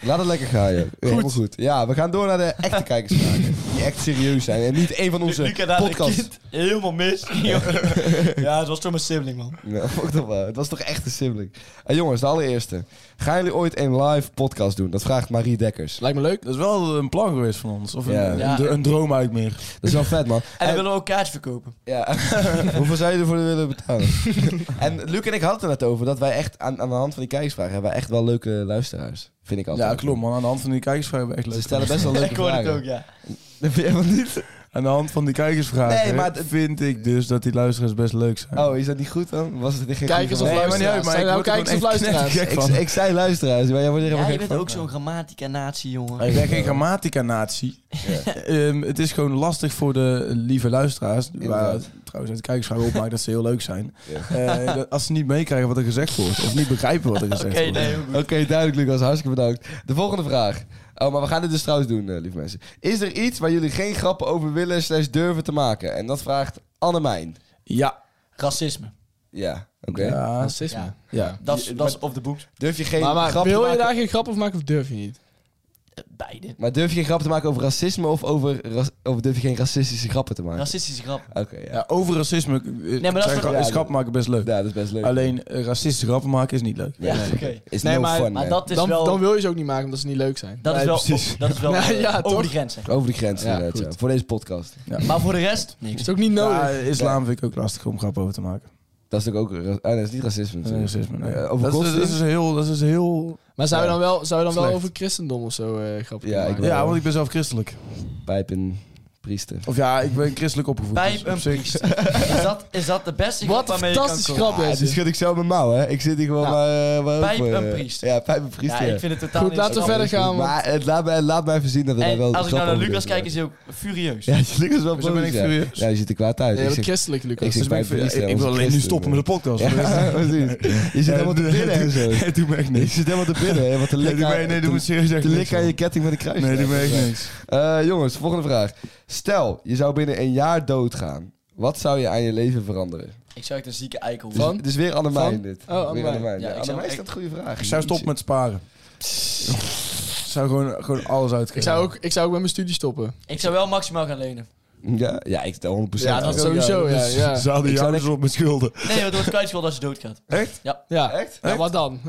Speaker 2: Laat het lekker gaan, joh. Helemaal goed. Ja, we gaan door naar de echte kijkersvragen. die echt serieus zijn. En niet een van onze
Speaker 4: Luca daar een
Speaker 2: podcasts.
Speaker 4: kind helemaal mis. ja, het was toch mijn sibling, man.
Speaker 2: Ja, fuck dat wel. Het was toch echt een sibling. En jongens, de allereerste. Gaan jullie ooit een live podcast doen? Dat vraagt Marie Dekkers.
Speaker 1: Lijkt me leuk.
Speaker 3: Dat is wel een plan geweest van ons. Of een,
Speaker 2: Ja.
Speaker 3: een,
Speaker 4: Ja.
Speaker 3: dr- een droom uit meer.
Speaker 2: Dat is wel vet, man.
Speaker 4: En we willen ook kaartjes verkopen.
Speaker 2: Ja. Hoeveel zou je ervoor willen betalen? en Luc en ik hadden het er net over dat wij echt aan, aan de hand van die kijkersvragen hebben wij echt wel leuke luisteraars. Vind ik altijd.
Speaker 3: Ja, klopt man. Aan de hand van die kijkersvragen hebben we echt
Speaker 2: Ze
Speaker 3: leuk.
Speaker 2: stellen best wel leuke
Speaker 4: Ik hoor
Speaker 2: vragen.
Speaker 4: het ook, ja.
Speaker 2: Dat vind je helemaal niet.
Speaker 3: Aan de hand van die kijkersvragen
Speaker 2: Nee, maar het-
Speaker 3: vind ik dus dat die luisteraars best leuk zijn.
Speaker 2: Oh, is dat niet goed dan? Was het geen
Speaker 1: Kijkers
Speaker 2: goede
Speaker 1: of
Speaker 2: vraag?
Speaker 3: maar niet uit, maar
Speaker 1: Zijn
Speaker 3: ik
Speaker 1: nou
Speaker 3: word er
Speaker 1: kijkers
Speaker 3: gewoon
Speaker 1: of
Speaker 3: echt
Speaker 1: luisteraars?
Speaker 3: knettergek van.
Speaker 2: ik, ik zei luisteraars, maar jij wordt er helemaal
Speaker 4: Ja, je
Speaker 2: gek
Speaker 4: bent
Speaker 2: van.
Speaker 4: ook zo'n grammatica natie, jongen.
Speaker 3: Ik ben geen grammatica-natie. Ehm, het is gewoon lastig voor de lieve luisteraars. Waar
Speaker 2: Inderdaad.
Speaker 3: trouwens uit de kijkersvragen opmaakt dat ze heel leuk zijn.
Speaker 2: Ja.
Speaker 3: Eh, dat- als ze niet meekrijgen wat er gezegd wordt. Of niet begrijpen wat er gezegd
Speaker 4: Oké,
Speaker 3: wordt.
Speaker 4: nee, heel goed.
Speaker 2: Oké, duidelijk Lucas. Hartstikke bedankt. De volgende vraag. Oh, maar we gaan dit dus trouwens doen, eh, lieve mensen. Is er iets waar jullie geen grappen over willen slash durven te maken? En dat vraagt Annemijn.
Speaker 3: Ja.
Speaker 4: Racisme.
Speaker 2: Ja, oké.
Speaker 3: ja.
Speaker 1: Racisme.
Speaker 4: Ja.
Speaker 3: Ja.
Speaker 4: Dat is, dat is op de boek.
Speaker 2: Durf je geen
Speaker 1: Maar, maar
Speaker 2: grap te
Speaker 1: wil je
Speaker 2: maken...
Speaker 1: daar geen grap over maken of durf je niet?
Speaker 4: Beide.
Speaker 2: Maar durf je geen grap te maken over racisme of, over ras- of durf je geen racistische grappen te maken?
Speaker 4: Racistische grap.
Speaker 2: Oké, ja.
Speaker 3: Ja, over racisme nee,
Speaker 4: maar dat is toch-
Speaker 2: ja,
Speaker 3: is grap maken best leuk.
Speaker 2: Ja, dat is best leuk.
Speaker 3: Alleen eh, racistische grappen maken is niet leuk.
Speaker 4: Ja,
Speaker 2: Nee.
Speaker 4: oké.
Speaker 2: Is
Speaker 1: Nee,
Speaker 2: no
Speaker 1: maar-
Speaker 2: fun,
Speaker 4: Maar
Speaker 2: man.
Speaker 4: dat is
Speaker 1: Dan,
Speaker 4: wel...
Speaker 1: dan wil je ze ook niet maken omdat ze niet leuk zijn.
Speaker 4: dat, is
Speaker 3: Nee,
Speaker 4: wel
Speaker 3: precies.
Speaker 4: dat is wel
Speaker 1: Ja,
Speaker 4: eh,
Speaker 1: ja,
Speaker 4: over
Speaker 1: toch?
Speaker 4: die grenzen.
Speaker 2: Over de grens,
Speaker 1: Ja,
Speaker 2: inderdaad.
Speaker 1: goed.
Speaker 2: ja. Voor deze podcast.
Speaker 4: Maar voor de rest, niks.
Speaker 1: Is ook niet nodig.
Speaker 3: Ja, islam vind ik ook lastig om grappen over te maken.
Speaker 2: Dat is natuurlijk ook... ra- Ah, dat is niet racisme.
Speaker 3: Dat is
Speaker 2: natuurlijk.
Speaker 3: racisme. nee.
Speaker 2: Eh, over
Speaker 3: dat, is,
Speaker 2: godsdienst?
Speaker 3: dat is dus heel... Dat is heel
Speaker 1: maar zou je dan wel, zou je dan wel
Speaker 3: Slecht.
Speaker 1: over christendom of zo eh grappen
Speaker 2: Ja,
Speaker 1: kunnen
Speaker 2: ik
Speaker 1: maken?
Speaker 3: ja, want ik ben zelf christelijk.
Speaker 2: Pijpen, priester.
Speaker 3: Of ja, ik ben christelijk opgevoed.
Speaker 4: Pijp
Speaker 3: dus op
Speaker 4: een
Speaker 3: zich-
Speaker 4: Is dat, is dat de beste grap
Speaker 1: Wat een
Speaker 4: waarmee je kan
Speaker 1: fantastische
Speaker 4: komen?
Speaker 1: grap
Speaker 2: Ah,
Speaker 1: is
Speaker 2: die
Speaker 1: dit.
Speaker 2: schud ik zo op mijn mouw, hè. Ik zit hier gewoon
Speaker 1: Nou,
Speaker 2: maar... eh, maar
Speaker 4: pijp
Speaker 2: ook, eh,
Speaker 4: een priester.
Speaker 2: Ja, pijp een priester.
Speaker 4: Ja,
Speaker 2: ja.
Speaker 4: ik vind het totaal
Speaker 1: Goed,
Speaker 4: niet
Speaker 1: laten we
Speaker 4: zo
Speaker 1: verder
Speaker 4: grappig.
Speaker 1: gaan. want-
Speaker 2: Maar het laat, mij, laat mij voorzien dat wij
Speaker 4: En
Speaker 2: wel
Speaker 4: als ik nou naar
Speaker 2: grappen
Speaker 4: Lucas
Speaker 2: over
Speaker 4: kijk, is
Speaker 2: durven
Speaker 4: hij ook furieus.
Speaker 2: maken. Ja, Lucas is wel
Speaker 3: Zo ben ik
Speaker 2: boos, ja.
Speaker 3: furieus.
Speaker 2: Ja, je zit er kwaad uit.
Speaker 1: Nee,
Speaker 2: Ik
Speaker 1: wat
Speaker 2: zeg-
Speaker 1: christelijk,
Speaker 2: ik
Speaker 1: Lucas.
Speaker 2: zeg-
Speaker 3: Dus ben ik,
Speaker 2: Pijp een
Speaker 3: ik,
Speaker 2: priester,
Speaker 3: ik
Speaker 2: onze
Speaker 3: wil alleen nu
Speaker 2: christen,
Speaker 3: stoppen met de podcast.
Speaker 2: Ja,
Speaker 3: voor de rest-
Speaker 2: precies. Je zit helemaal te bidden en zo.
Speaker 3: Nee, doe me echt
Speaker 2: Je
Speaker 3: niks.
Speaker 2: zit helemaal te bidden, hè. Wat een
Speaker 3: Nee,
Speaker 2: lik
Speaker 3: doe me,
Speaker 2: aan-
Speaker 3: nee,
Speaker 2: te-
Speaker 3: doe me serieus echt
Speaker 2: te
Speaker 3: niks.
Speaker 2: likken aan je
Speaker 3: man.
Speaker 2: ketting met een kruis.
Speaker 3: Nee, doe me echt niks.
Speaker 2: Eh, jongens, volgende vraag. Stel, je zou binnen een jaar doodgaan. Wat zou je aan je leven veranderen?
Speaker 4: Ik zou echt een zieke eikel
Speaker 2: Dus,
Speaker 4: worden.
Speaker 2: dus weer Annemijn
Speaker 1: Van?
Speaker 2: dit.
Speaker 1: Oh, Annemijn.
Speaker 2: Weer Annemijn.
Speaker 4: Ja, ik
Speaker 2: Ja,
Speaker 4: zou-
Speaker 2: Annemijn is
Speaker 4: ik-
Speaker 2: dat een goede vraag.
Speaker 3: Ik zou stoppen met sparen. Ik zou gewoon, gewoon alles uitgeven.
Speaker 1: Ik zou, ook, ik zou ook met mijn studie stoppen.
Speaker 4: Ik zou wel maximaal gaan lenen.
Speaker 2: Ja, ja ik 100%.
Speaker 1: Ja, dat
Speaker 2: ook. Dus-
Speaker 1: is sowieso, ja, ja.
Speaker 3: Ze hadden
Speaker 2: Ik
Speaker 3: je
Speaker 2: zou
Speaker 3: ouders op met schulden.
Speaker 4: Nee, want wordt kwijtschuld als je doodgaat.
Speaker 1: Ja,
Speaker 2: Echt?
Speaker 1: ja wat dan?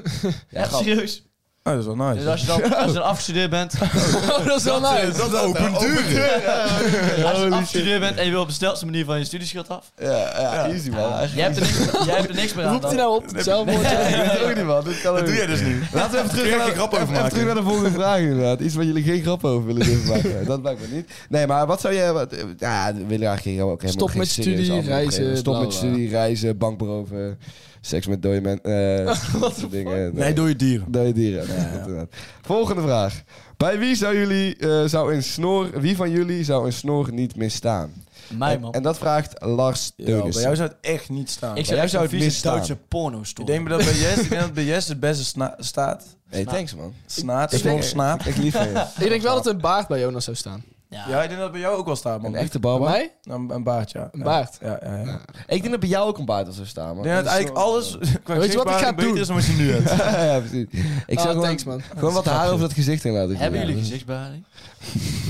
Speaker 4: Ja,
Speaker 2: grap.
Speaker 4: serieus.
Speaker 3: Ah, dat is wel nice.
Speaker 4: Dus als je dan, als je dan afgestudeerd bent, als
Speaker 1: Oh, dat is wel leuk.
Speaker 3: dat opent deuren.
Speaker 4: je afgestudeerd bent en je wil op de snelste manier van je studieschuld af,
Speaker 2: Ja, ja, easy man. Eigenlijk.
Speaker 4: jij hebt er niks, jij hebt er niks meer aan
Speaker 1: Roept hij
Speaker 4: dan.
Speaker 1: nou op? Zelfwoord?
Speaker 2: Ik weet het ook niet man. Dit kan ook
Speaker 3: Dat doe
Speaker 2: niet.
Speaker 3: jij dus niet.
Speaker 2: Laten we even terug,
Speaker 3: Kun je
Speaker 2: naar,
Speaker 3: geen grap
Speaker 2: even- even
Speaker 3: over maken?
Speaker 2: terug naar de volgende vraag inderdaad. Iets waar jullie geen grap over willen durven maken. dat maakt me niet. Nee, maar wat zou je... Wat, eh, ja, we willen eigenlijk geen grap. ook helemaal
Speaker 1: Stop
Speaker 2: geen
Speaker 1: met
Speaker 2: serieus
Speaker 1: studie,
Speaker 2: antwoord geven.
Speaker 1: reizen,
Speaker 2: Stop
Speaker 1: bla,
Speaker 2: met
Speaker 1: bla.
Speaker 2: studie, reizen, bankberoven, seks met dode mensen. eh, dat soort dingen.
Speaker 3: Nee, door je dieren.
Speaker 2: Dode dieren. Ja, inderdaad. Volgende vraag. Bij wie zou jullie eh, zou een snor... Wie van jullie zou een snor niet misstaan?
Speaker 4: Mij
Speaker 2: en,
Speaker 4: man.
Speaker 2: en dat vraagt Lars
Speaker 3: Ja, bij
Speaker 2: Teunissen.
Speaker 3: jou zou het echt niet staan.
Speaker 4: Ik
Speaker 3: Ik,
Speaker 4: zou
Speaker 2: jij
Speaker 4: echt
Speaker 2: zou
Speaker 4: een
Speaker 2: het
Speaker 4: vieze
Speaker 2: misstaan.
Speaker 4: Duitse porno storen.
Speaker 3: denk dat bij Jess, ik denk dat bij Jess het beste sna- staat.
Speaker 2: Hey, thanks man.
Speaker 3: Snaat,
Speaker 2: Ik denk-
Speaker 3: snor, snaap.
Speaker 2: Ik lief van je.
Speaker 1: Ik denk wel dat een baard bij Jonas zou
Speaker 2: Oh,
Speaker 1: staan.
Speaker 4: Ja.
Speaker 3: Ja, ik denk dat het bij jou ook wel staat, man.
Speaker 2: Een echte
Speaker 1: Bij
Speaker 2: barba.
Speaker 1: mij?
Speaker 3: Een, een baard, ja.
Speaker 1: Een baard.
Speaker 3: Ja, ja, ja.
Speaker 2: Ik denk dat bij jou ook een baard als zou staan, man.
Speaker 3: Ik denk dat eigenlijk alles qua
Speaker 1: Weet je wat ik ga
Speaker 3: gezichtsbeharing beter
Speaker 1: doen?
Speaker 3: is dan wat je nu hebt.
Speaker 2: ja, precies. Ik
Speaker 1: Ah,
Speaker 2: zou gewoon,
Speaker 1: thanks, man.
Speaker 2: gewoon wat haar over dat gezicht in laten
Speaker 4: Hebben
Speaker 2: groeien.
Speaker 4: jullie gezichtsbeharing?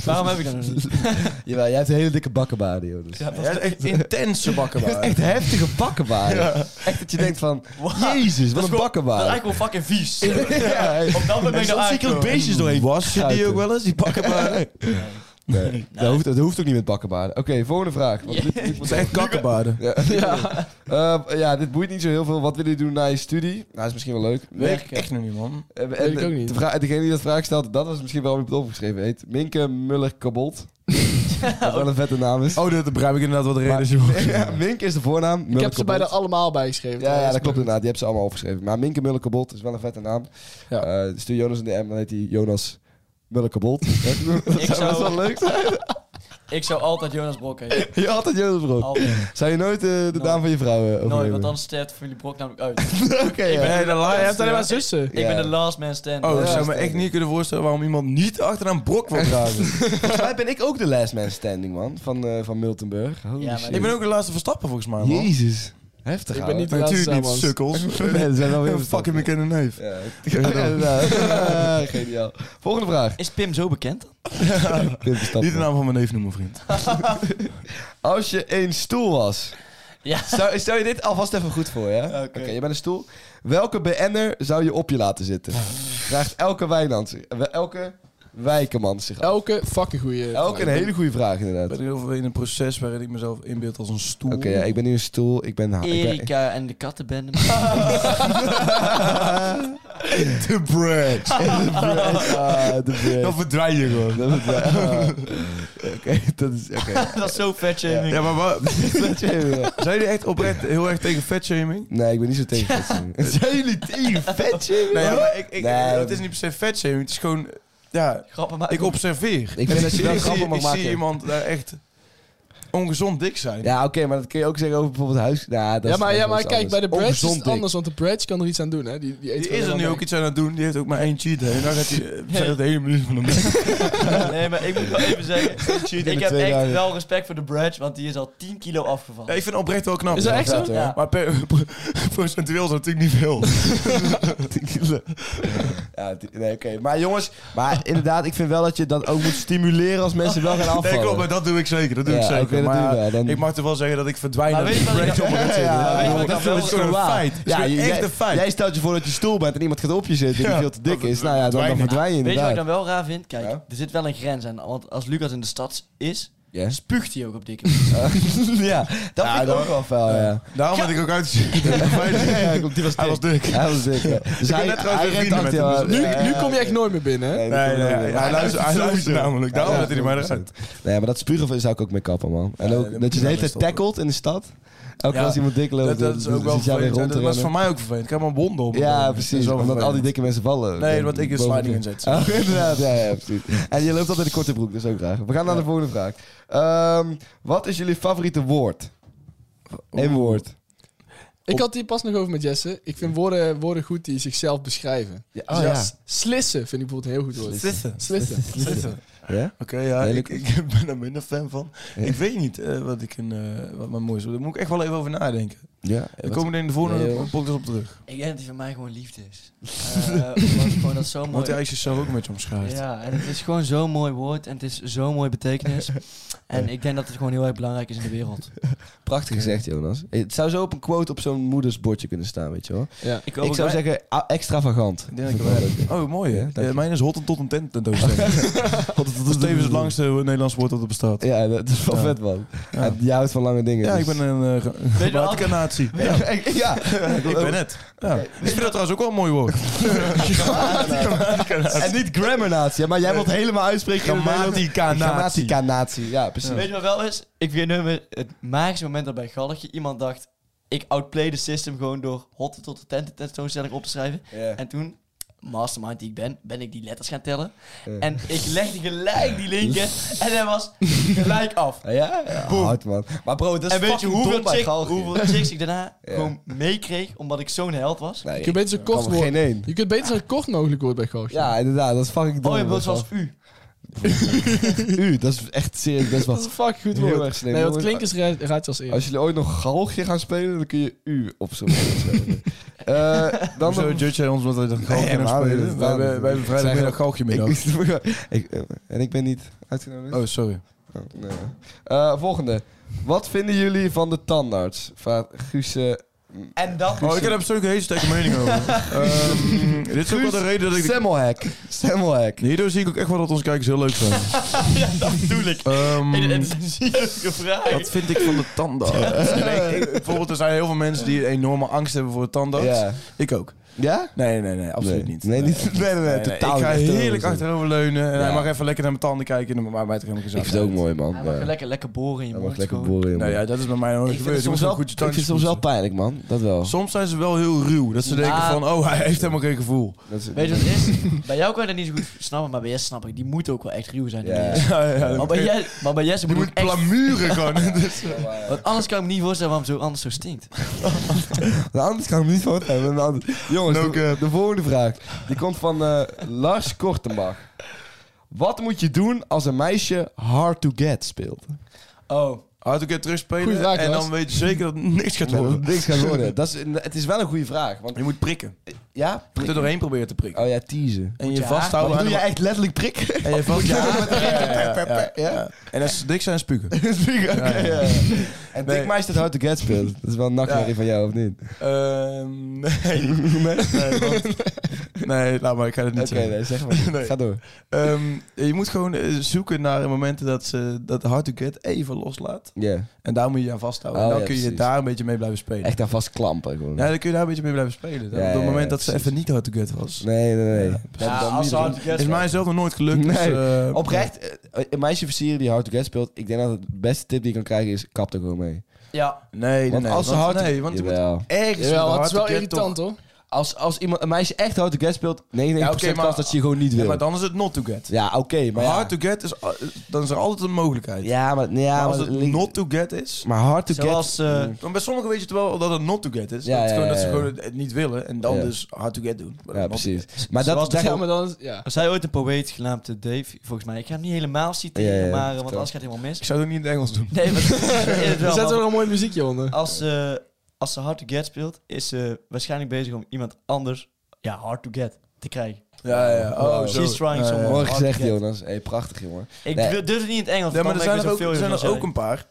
Speaker 4: Waarom heb ik dat nog niet?
Speaker 2: Jawel, jij hebt een hele dikke bakkenbaarden, joh. Dus.
Speaker 3: Ja, echt intense bakkenbaarden.
Speaker 2: Echt heftige bakkenbaarden. Echt dat je denkt van, jezus, wat een
Speaker 4: Dat is
Speaker 2: bakkenbaarden.
Speaker 4: eigenlijk wel fucking vies.
Speaker 2: Ja, hey.
Speaker 4: Op dat moment ben ik
Speaker 3: Er
Speaker 4: nou
Speaker 3: zat ziekelijk
Speaker 4: aangekomen.
Speaker 3: beestjes doorheen. Was je die
Speaker 2: Schuiten.
Speaker 3: ook wel eens, die bakkenbaarden?
Speaker 2: Nee, Dat, hoeft, dat hoeft ook niet met bakkenbaarden. Oké, volgende vraag. Want Luc- Luc moet
Speaker 3: Het zijn echt kakkenbaarden.
Speaker 2: Ja. Ja. ja, dit boeit niet zo heel veel. Wat wil je doen na je studie? Nou, dat is misschien wel leuk.
Speaker 3: Weet ik echt nog niet, man.
Speaker 2: En, en
Speaker 1: Weet ik ook
Speaker 2: de-
Speaker 1: niet.
Speaker 2: de vraag- degene die dat vraag stelt, dat was misschien waarom ik het opgeschreven heet. Minke Muller-Kabolt. Wat wel een vette naam is.
Speaker 3: Oh, dat begrijp ik inderdaad wat de reden is, joh.
Speaker 2: Ja, Minke is de voornaam.
Speaker 1: Ik
Speaker 2: Muller
Speaker 1: heb ze bij de
Speaker 2: Cabot.
Speaker 1: allemaal bijgeschreven.
Speaker 2: Ja, ja, dat klopt inderdaad. Die hebben ze allemaal opgeschreven. Maar Minke Muller-Kabolt is wel een vette naam.
Speaker 3: Ja.
Speaker 2: Eh, stuur Jonas een DM, dan heet hij Jonas Muller-Kabolt. dat
Speaker 4: Ik
Speaker 2: zou
Speaker 4: zou-
Speaker 2: best wel leuk zijn.
Speaker 4: Ik zou altijd Jonas Brok heten.
Speaker 2: Je had het Jonas Brok.
Speaker 4: Altijd.
Speaker 2: Zou je nooit eh, de naam van je vrouw eh,
Speaker 4: Nooit,
Speaker 2: overnemen?
Speaker 4: want dan sterft familie Brok namelijk uit.
Speaker 2: Oké, ja.
Speaker 3: Nee, de
Speaker 1: Je
Speaker 3: laatste.
Speaker 1: hebt alleen maar zussen.
Speaker 4: Ik ben de last man standing.
Speaker 3: Oh,
Speaker 2: Ja,
Speaker 3: ik zou
Speaker 2: dat
Speaker 3: me
Speaker 2: is
Speaker 3: echt
Speaker 2: wel.
Speaker 3: niet kunnen voorstellen waarom iemand niet achteraan Brok wil dragen.
Speaker 2: Volgens mij ben ik ook de last man standing, man. Van, eh, van Miltenburg. Holy
Speaker 4: Ja, maar
Speaker 2: shit.
Speaker 4: die
Speaker 3: ik ben ook de laatste Verstappen, volgens mij, man.
Speaker 2: Jezus. Heftig,
Speaker 1: Ik ben
Speaker 2: ouwe.
Speaker 1: niet de laatste
Speaker 5: Natuurlijk niet,
Speaker 1: Samans.
Speaker 5: sukkels. Nee, er zijn wel weer
Speaker 3: Een fucking bekende neef.
Speaker 2: Ja, ja, ja, geniaal. Volgende vraag.
Speaker 4: Is Pim zo bekend?
Speaker 2: Pim Verstappen.
Speaker 3: Niet de naam van mijn neef noemen, vriend.
Speaker 2: Als je één stoel was,
Speaker 4: Ja.
Speaker 2: zou, stel je dit alvast even goed voor, hè? Oké, je bent een stoel. Welke BN'er zou je op je laten zitten? Vraagt elke Wijnand zich. eh, Elke Wijkerman zich af.
Speaker 1: Elke fucking goeie.
Speaker 2: Elke een hele goede vraag,
Speaker 3: Ik ben
Speaker 2: inderdaad.
Speaker 3: heel veel in een proces waarin ik mezelf inbeeld als een stoel.
Speaker 2: Oké, ja, ik ben nu een stoel. Ik ben... ha- Ah, Ik ben
Speaker 4: Erika en de kattenbende.
Speaker 3: de bread.
Speaker 2: Ah, de
Speaker 3: Dat
Speaker 2: bread.
Speaker 3: verdraai je gewoon.
Speaker 2: Dat is- ah. Oké, dat is... Oké.
Speaker 4: dat is zo vet, Jamie.
Speaker 3: Ja, maar wat?
Speaker 2: Dat is heel-
Speaker 3: Zijn jullie echt oprecht heel erg tegen fatshaming?
Speaker 2: Nee, ik ben niet zo tegen vetshaming. Zijn jullie tegen vetshaming?
Speaker 3: Nee, ja, maar ik, ik,
Speaker 2: Nee.
Speaker 3: het is niet per se fatshaming. Het is gewoon... Ja,
Speaker 4: Grappen maken.
Speaker 3: ik observeer.
Speaker 2: Ik vind dat je
Speaker 3: zie-
Speaker 2: wel
Speaker 3: ik
Speaker 2: grappen
Speaker 3: zie-
Speaker 2: mag
Speaker 3: Ik
Speaker 2: maken.
Speaker 3: zie iemand daar echt ongezond dik zijn.
Speaker 2: Ja, oké, maar dat kun je ook zeggen over bijvoorbeeld huis... Nou, dat
Speaker 1: Ja,
Speaker 2: is-
Speaker 1: maar, ja,
Speaker 2: dat
Speaker 1: maar
Speaker 2: is
Speaker 1: kijk,
Speaker 2: anders.
Speaker 1: bij de Bradge is
Speaker 2: Ongezond
Speaker 1: het
Speaker 2: dik.
Speaker 1: anders, want de Bradge kan er iets aan doen, hè? Die, die, eet
Speaker 3: Die
Speaker 1: gewoon
Speaker 3: is er nu
Speaker 1: helemaal
Speaker 3: ook
Speaker 1: niks.
Speaker 3: iets aan het doen. Die heeft ook maar één cheat day. En dan gaat hij... eh, Zijn het de hele minuut van hem.
Speaker 4: Nee, maar ik moet wel even zeggen.
Speaker 2: in de
Speaker 4: ik heb
Speaker 2: tweede
Speaker 4: echt
Speaker 2: helft.
Speaker 4: wel respect voor de Bradge, want die is al 10 kilo afgevallen.
Speaker 3: Ja, ik vind het oprecht wel knap.
Speaker 1: Is dat echt zo?
Speaker 2: Ja.
Speaker 4: Ja.
Speaker 3: Maar per, procentueel is dat natuurlijk niet veel.
Speaker 2: Ja, die- nee, oké. Maar jongens, maar inderdaad, ik vind wel dat je dat ook moet stimuleren als mensen wel gaan afvallen.
Speaker 3: Nee, klopt, maar dat doe ik zeker. Dat doe
Speaker 2: Ja,
Speaker 3: ik
Speaker 2: oké,
Speaker 3: zeker.
Speaker 2: dat
Speaker 3: maar
Speaker 2: doen we, dan-
Speaker 3: ik mag toch wel zeggen dat ik verdwijn
Speaker 4: Maar
Speaker 3: als
Speaker 4: weet je
Speaker 3: ik
Speaker 4: wat ik-
Speaker 3: breed op me ga zitten.
Speaker 4: Ja, weet je wat
Speaker 3: jongen,
Speaker 4: ik
Speaker 3: dat
Speaker 4: wel
Speaker 3: is gewoon
Speaker 4: eens
Speaker 3: een
Speaker 4: doe?
Speaker 3: feit. Dat is
Speaker 2: Ja,
Speaker 3: gewoon
Speaker 2: je-
Speaker 3: echt
Speaker 2: jij-
Speaker 3: een feit.
Speaker 2: Jij stelt je voor dat je stoel bent en iemand gaat op je zitten die
Speaker 3: Ja,
Speaker 2: veel te dik
Speaker 3: dan
Speaker 2: is. Nou ja, dan, dan
Speaker 3: verdwijnen.
Speaker 2: verdwijn je
Speaker 4: Weet je wat ik
Speaker 2: inderdaad.
Speaker 4: dan wel raar vind? Kijk,
Speaker 2: Ja.
Speaker 4: er zit wel een grens aan. Want als Lucas in de stad is,
Speaker 2: Ja.
Speaker 4: spuugt hij ook op dikke.
Speaker 2: ja, dat vind ik ook wel fel, ja.
Speaker 3: Daarom had ik ook uitgezien.
Speaker 2: Ja, klopt, die was
Speaker 3: Hij was dik.
Speaker 2: Hij was dik, ja. Dus
Speaker 3: ben
Speaker 2: hij,
Speaker 3: net trouwens
Speaker 2: hij
Speaker 3: weer
Speaker 2: rent
Speaker 3: vrienden
Speaker 2: achter
Speaker 3: met
Speaker 2: jou
Speaker 3: hem,
Speaker 1: Nu,
Speaker 2: aan. Ja,
Speaker 1: nu
Speaker 2: ja,
Speaker 1: kom je echt nooit meer binnen, hè?
Speaker 2: Nee, nu
Speaker 3: Nee,
Speaker 2: kom je
Speaker 3: nee,
Speaker 2: nooit
Speaker 3: hij,
Speaker 2: meer.
Speaker 3: luistert, hij luistert namelijk. Daarom
Speaker 2: Ja,
Speaker 3: zet hij er maar
Speaker 2: klopt,
Speaker 3: eruit.
Speaker 2: Nee, maar dat spugen zou ik ook mee kappen, man. En
Speaker 3: Ja,
Speaker 2: ook dat je
Speaker 3: dan moet je
Speaker 2: de hele
Speaker 3: wel
Speaker 2: tijd
Speaker 3: stoppen.
Speaker 2: tackelt in de stad. Ook
Speaker 3: Ja,
Speaker 2: als iemand dik loopt, dus
Speaker 3: Dat, dat is
Speaker 2: dan-
Speaker 3: ook
Speaker 2: dan
Speaker 3: wel
Speaker 2: zit jij weer
Speaker 3: vervelend.
Speaker 2: rond
Speaker 3: En
Speaker 2: te
Speaker 3: Dat was
Speaker 2: rennen.
Speaker 3: voor mij ook vervelend. Ik heb mijn wonden op.
Speaker 2: Ja,
Speaker 3: Dat
Speaker 2: precies.
Speaker 3: is wel
Speaker 2: Omdat al die
Speaker 3: vervelend.
Speaker 2: dikke mensen vallen.
Speaker 3: Nee, omdat ik een
Speaker 2: Boven-
Speaker 3: sliding inzet.
Speaker 2: Oh, inderdaad, ja, ja, precies. En je loopt altijd in korte broek, dat is ook graag. We gaan naar de volgende vraag. Ehm, wat is jullie favoriete woord? Eén woord.
Speaker 1: Ik had die pas nog over met Jesse. Ik vind woorden, woorden goed die zichzelf beschrijven.
Speaker 2: Ah, Ja,
Speaker 1: Dus s- Slissen vind ik bijvoorbeeld een heel goed woord.
Speaker 3: Zitten.
Speaker 1: Slissen.
Speaker 3: Zitten.
Speaker 2: Ja?
Speaker 3: Oké, ja,
Speaker 2: Nee,
Speaker 3: ik,
Speaker 2: Lucas.
Speaker 3: ik ben er minder fan van.
Speaker 2: Ja.
Speaker 3: Ik weet niet eh, wat, ik een, eh, wat mijn mooiste... Daar moet ik echt wel even over nadenken.
Speaker 2: Ja.
Speaker 3: We komen er in de volgende
Speaker 2: Nee, joh.
Speaker 3: podcast op terug.
Speaker 4: ik denk dat hij voor mij gewoon liefde is. Eh, omdat gewoon dat zo
Speaker 3: Want
Speaker 4: mooi.
Speaker 3: hij is jezelf ook een beetje omschrijft.
Speaker 4: Ja, en het is gewoon zo'n mooi woord en het is zo'n mooie betekenis. En ik denk dat het gewoon heel erg belangrijk is in de wereld.
Speaker 2: Prachtig gezegd, Jonas. Het zou zo op een quote op zo'n moedersbordje kunnen staan, weet je wel.
Speaker 1: Ja.
Speaker 4: Ik,
Speaker 2: Ik zou zeggen, ah, extravagant.
Speaker 3: Ik denk dat ik wel- Oh, mooi
Speaker 2: Ja,
Speaker 3: hè.
Speaker 2: dank
Speaker 3: Eh,
Speaker 2: je.
Speaker 3: mijn is hot tot een tent tentoonstelling. Dat is tevens het langste Nederlands woord dat er bestaat. Ja,
Speaker 2: Ja, dat is wel
Speaker 3: Ja.
Speaker 2: vet, man.
Speaker 3: Ja.
Speaker 2: En jij houdt van lange dingen. dus-
Speaker 3: ik ben een eh ge-
Speaker 4: je
Speaker 3: gematigde
Speaker 4: altijd-
Speaker 3: natie. Ja.
Speaker 2: Ja, ik- ja.
Speaker 3: Ik ben het. Ja. Ik vind dat trouwens ook wel een mooi woord.
Speaker 2: En niet grammar natie, maar jij wilt helemaal uitspreken. in het Nederlands.
Speaker 3: Grammatica-natie.
Speaker 2: Grammatica natie, ja, precies.
Speaker 4: Weet je wat wel is? Ik vind nummer het magische moment dat bij Galligje iemand dacht... Ik outplay de system gewoon door hotte tot de tent tentoonstelling op te schrijven.
Speaker 2: Ja.
Speaker 4: En toen, mastermind die ik ben, ben ik die letters gaan tellen.
Speaker 2: Ja.
Speaker 4: En ik legde gelijk die linker en hij was gelijk af.
Speaker 2: Ja, Ah, ja hard man. Maar bro, dat is
Speaker 4: en weet je
Speaker 2: fucking
Speaker 4: hoeveel,
Speaker 2: dom bij
Speaker 4: chick-
Speaker 2: Galgen.
Speaker 4: hoeveel chicks ik daarna
Speaker 2: Ja.
Speaker 4: gewoon meekreeg omdat ik zo'n held was?
Speaker 2: Nee,
Speaker 1: Je kunt beter zo
Speaker 2: kan
Speaker 1: kort
Speaker 2: er
Speaker 1: worden.
Speaker 2: Geen één.
Speaker 1: Je kunt beter zo kort mogelijk worden bij Galgje.
Speaker 2: Ja, inderdaad, dat is fucking
Speaker 4: Oh,
Speaker 2: dom.
Speaker 4: je
Speaker 2: bij
Speaker 4: bedoelt zoals
Speaker 2: Galgen.
Speaker 4: u.
Speaker 2: u, dat is echt serieus best
Speaker 1: Dat
Speaker 2: wel
Speaker 1: is een fucking goed
Speaker 2: heel
Speaker 1: woord.
Speaker 2: erg slim.
Speaker 1: Nee, want
Speaker 2: jongens.
Speaker 1: klinkers ra- raadt je
Speaker 2: Als
Speaker 1: als eerst.
Speaker 2: jullie ooit nog galgje gaan spelen, dan kun je u opzoeken. Eh dan
Speaker 3: Zo judge jij ons omdat wij dat galgje
Speaker 2: Nee,
Speaker 3: nog
Speaker 2: maar dat
Speaker 3: spelen.
Speaker 2: is
Speaker 3: Wij hebben, wij hebben
Speaker 2: waar.
Speaker 3: vrijdagmiddag galgje
Speaker 2: ik, ik, eh, en ik ben niet uitgenodigd.
Speaker 3: Oh, sorry.
Speaker 2: Oh, nee. Eh, volgende. Wat vinden jullie van de tandarts? Vraagt Guus... eh,
Speaker 4: En dat
Speaker 3: Oh, ik heb er persoonlijk een hele sterke mening over. Ehm, dit is ook wel de reden dat ik...
Speaker 2: Semmelhack. Semmelhack.
Speaker 3: Hierdoor zie ik ook echt wel dat onze kijkers heel leuk zijn.
Speaker 4: ja, dat bedoel ik.
Speaker 3: Ehm,
Speaker 4: En het is een zielige vraag.
Speaker 3: Wat vind ik van de tandarts? Nee, ik- bijvoorbeeld, er zijn heel veel mensen die een enorme angst hebben voor de tandarts.
Speaker 2: Ja.
Speaker 3: Ik ook.
Speaker 2: Ja?
Speaker 3: Nee, nee, nee, absoluut niet.
Speaker 2: Nee, niet. Nee, nee, nee,
Speaker 3: Nee, nee,
Speaker 2: totaal
Speaker 3: ik ga
Speaker 2: niet.
Speaker 3: heerlijk achteroverleunen en
Speaker 2: Ja.
Speaker 3: hij mag even lekker naar mijn tanden kijken. en- Maar mij toch helemaal
Speaker 2: Ik
Speaker 3: gezakt.
Speaker 2: vind het ook mooi, man.
Speaker 4: Hij
Speaker 2: Ja.
Speaker 4: mag lekker, lekker boren in je
Speaker 2: Hij
Speaker 4: mond.
Speaker 2: mag lekker
Speaker 4: gewoon.
Speaker 2: boren in,
Speaker 3: Nou
Speaker 2: man.
Speaker 3: ja, dat is bij mij nooit
Speaker 2: Ik vind
Speaker 3: gebeurd.
Speaker 2: het
Speaker 3: Je moet
Speaker 2: soms
Speaker 3: gewoon
Speaker 2: wel-
Speaker 3: goed
Speaker 2: ik
Speaker 3: je
Speaker 2: vind het
Speaker 3: tandjes
Speaker 2: soms wel
Speaker 3: poetsen.
Speaker 2: pijnlijk, man. Dat wel.
Speaker 3: Soms zijn ze wel heel ruw. Dat ze denken
Speaker 4: Ja.
Speaker 3: van, oh, hij heeft helemaal geen gevoel.
Speaker 2: Dat is-
Speaker 4: Weet je wat het is? bij jou kan je dat niet zo goed snappen, maar bij Jesse snap ik. Die moet ook wel echt ruw zijn. die
Speaker 2: Ja.
Speaker 4: mensen.
Speaker 3: Ja, ja,
Speaker 4: Maar,
Speaker 3: dat-
Speaker 4: bij Jesse, maar bij Jesse
Speaker 3: je
Speaker 4: moet
Speaker 3: moet
Speaker 4: ook echt...
Speaker 3: plamuren gewoon. Dus-
Speaker 4: Want anders kan ik me niet voorstellen waarom zo anders zo stinkt.
Speaker 2: Nou, anders kan ik me niet van hebben. maar anders- Jongens,
Speaker 3: No
Speaker 2: de, Nou,
Speaker 3: cap.
Speaker 2: de volgende vraag. Die komt van eh, Lars Kortenbach. Wat moet je doen als een meisje Hard to Get speelt?
Speaker 4: Oh,
Speaker 3: Hard een keer terugspelen
Speaker 1: Goeie vraag,
Speaker 3: en
Speaker 1: Lars.
Speaker 3: dan weet je zeker dat het niks gaat
Speaker 2: Nee,
Speaker 3: worden.
Speaker 2: niks gaan worden. Dat is, een- het is wel een goede vraag. Want,
Speaker 3: Je moet prikken.
Speaker 2: ja?
Speaker 3: Je moet er doorheen proberen te prikken.
Speaker 2: Oh ja, teasen.
Speaker 3: En je,
Speaker 4: je
Speaker 3: vasthouden aan
Speaker 2: doe je
Speaker 3: de-
Speaker 2: echt letterlijk prikken?
Speaker 3: En je vasthouden
Speaker 2: Moet Oh. je
Speaker 3: Ja,
Speaker 2: pep,
Speaker 3: ja,
Speaker 2: pep,
Speaker 3: ja,
Speaker 2: ja?
Speaker 3: ja. En als ze dik zijn, spugen.
Speaker 2: Oké,
Speaker 3: Ja, ja.
Speaker 2: ja. En
Speaker 3: Nee.
Speaker 2: Dick Meister Hard to Get speelt. Dat is wel een nachtmerrie
Speaker 3: Ja.
Speaker 2: van jou, of niet?
Speaker 3: Ehm, nee. Nee, want- nee, laat maar, ik ga het niet
Speaker 2: Oké,
Speaker 3: zeggen.
Speaker 2: nee, zeg maar.
Speaker 3: Nee.
Speaker 2: Ga door.
Speaker 3: Ehm, je moet gewoon eh, zoeken naar momenten dat ze dat hard to get even loslaat.
Speaker 2: Ja.
Speaker 3: En daar moet je je aan vasthouden.
Speaker 2: Oh,
Speaker 3: en dan
Speaker 2: ja,
Speaker 3: kun je
Speaker 2: precies.
Speaker 3: daar een beetje mee blijven spelen.
Speaker 2: Echt aan vastklampen gewoon.
Speaker 3: Ja, dan kun je daar een beetje mee blijven spelen. Dan
Speaker 2: Ja,
Speaker 3: op het
Speaker 2: ja,
Speaker 3: moment
Speaker 2: ja,
Speaker 3: dat ze
Speaker 2: precies.
Speaker 3: even niet hard to get was.
Speaker 2: Nee, nee, nee.
Speaker 3: Ja,
Speaker 2: Dat
Speaker 4: Ja,
Speaker 2: dan
Speaker 4: als
Speaker 2: niet
Speaker 4: ze
Speaker 2: doen.
Speaker 4: hard to get
Speaker 3: Is mij zelf nog nooit gelukt. Dus,
Speaker 2: Nee.
Speaker 3: eh,
Speaker 2: Oprecht, eh, een meisje versieren die hard to get speelt. Ik denk dat het beste tip die je kan krijgen is, kap er gewoon mee.
Speaker 4: Ja,
Speaker 3: Nee, nee,
Speaker 2: Want
Speaker 3: nee,
Speaker 2: als ze
Speaker 3: want-
Speaker 2: hard...
Speaker 3: Nee, want je moet
Speaker 2: Jawel.
Speaker 3: ergens
Speaker 1: Jawel,
Speaker 3: met
Speaker 1: het is
Speaker 3: hard
Speaker 1: wel
Speaker 3: to get
Speaker 1: irritant hoor.
Speaker 2: Als, als iemand, een meisje echt hard to get speelt, 99%
Speaker 3: Ja, oké, maar-
Speaker 2: kans dat ze je gewoon niet
Speaker 3: toch-
Speaker 2: wil.
Speaker 3: Ja,
Speaker 2: Ja,
Speaker 3: maar dan is het not to get.
Speaker 2: oké, maar
Speaker 3: Maar
Speaker 2: ja.
Speaker 3: hard to get is, al- dan is er altijd een mogelijkheid.
Speaker 2: Ja, maar... nee, Ja,
Speaker 3: maar
Speaker 2: maar
Speaker 3: als het
Speaker 2: ligt-
Speaker 3: not to get is,
Speaker 2: Maar hard to
Speaker 4: zoals...
Speaker 2: get... Mm.
Speaker 4: eh,
Speaker 3: dan bij sommigen weet je het wel dat het not to get is.
Speaker 2: Ja,
Speaker 3: dat, het
Speaker 2: ja,
Speaker 3: gewoon, dat
Speaker 2: ja,
Speaker 3: ze
Speaker 2: ja.
Speaker 3: gewoon het niet willen en dan
Speaker 2: Ja.
Speaker 3: dus hard to get doen. Maar
Speaker 2: ja,
Speaker 3: not to get.
Speaker 2: precies. Maar dat,
Speaker 4: Zoals de
Speaker 2: daar-
Speaker 1: Ja, maar dan is, ja.
Speaker 4: Er zei ooit een poëet genaamd eh, Dave, volgens mij. Ik ga hem niet helemaal citeren,
Speaker 2: Ja, ja, ja,
Speaker 4: maar, eh, want
Speaker 2: vertel.
Speaker 4: anders gaat het helemaal mis.
Speaker 3: Ik zou het ook niet in het Engels doen.
Speaker 4: Nee, maar het
Speaker 1: Er
Speaker 4: wel,
Speaker 1: zet
Speaker 4: maar
Speaker 1: er wel een mooi muziekje onder.
Speaker 4: als, eh, als ze hard to get speelt, is ze waarschijnlijk bezig om iemand anders ja, hard to get te krijgen.
Speaker 3: Ja, ja. Oh,
Speaker 2: Wow.
Speaker 3: zo.
Speaker 4: She's trying
Speaker 3: Ja, ja, ja.
Speaker 4: someone.
Speaker 2: Mooi
Speaker 4: hard
Speaker 2: gezegd,
Speaker 4: to get.
Speaker 2: Jonas. Hey, prachtig, jongen.
Speaker 4: Ik
Speaker 2: Nee.
Speaker 4: wil- durf het niet in het Engels,
Speaker 3: Ja, maar er zijn er, ook,
Speaker 4: veel
Speaker 3: er zijn er ook een paar.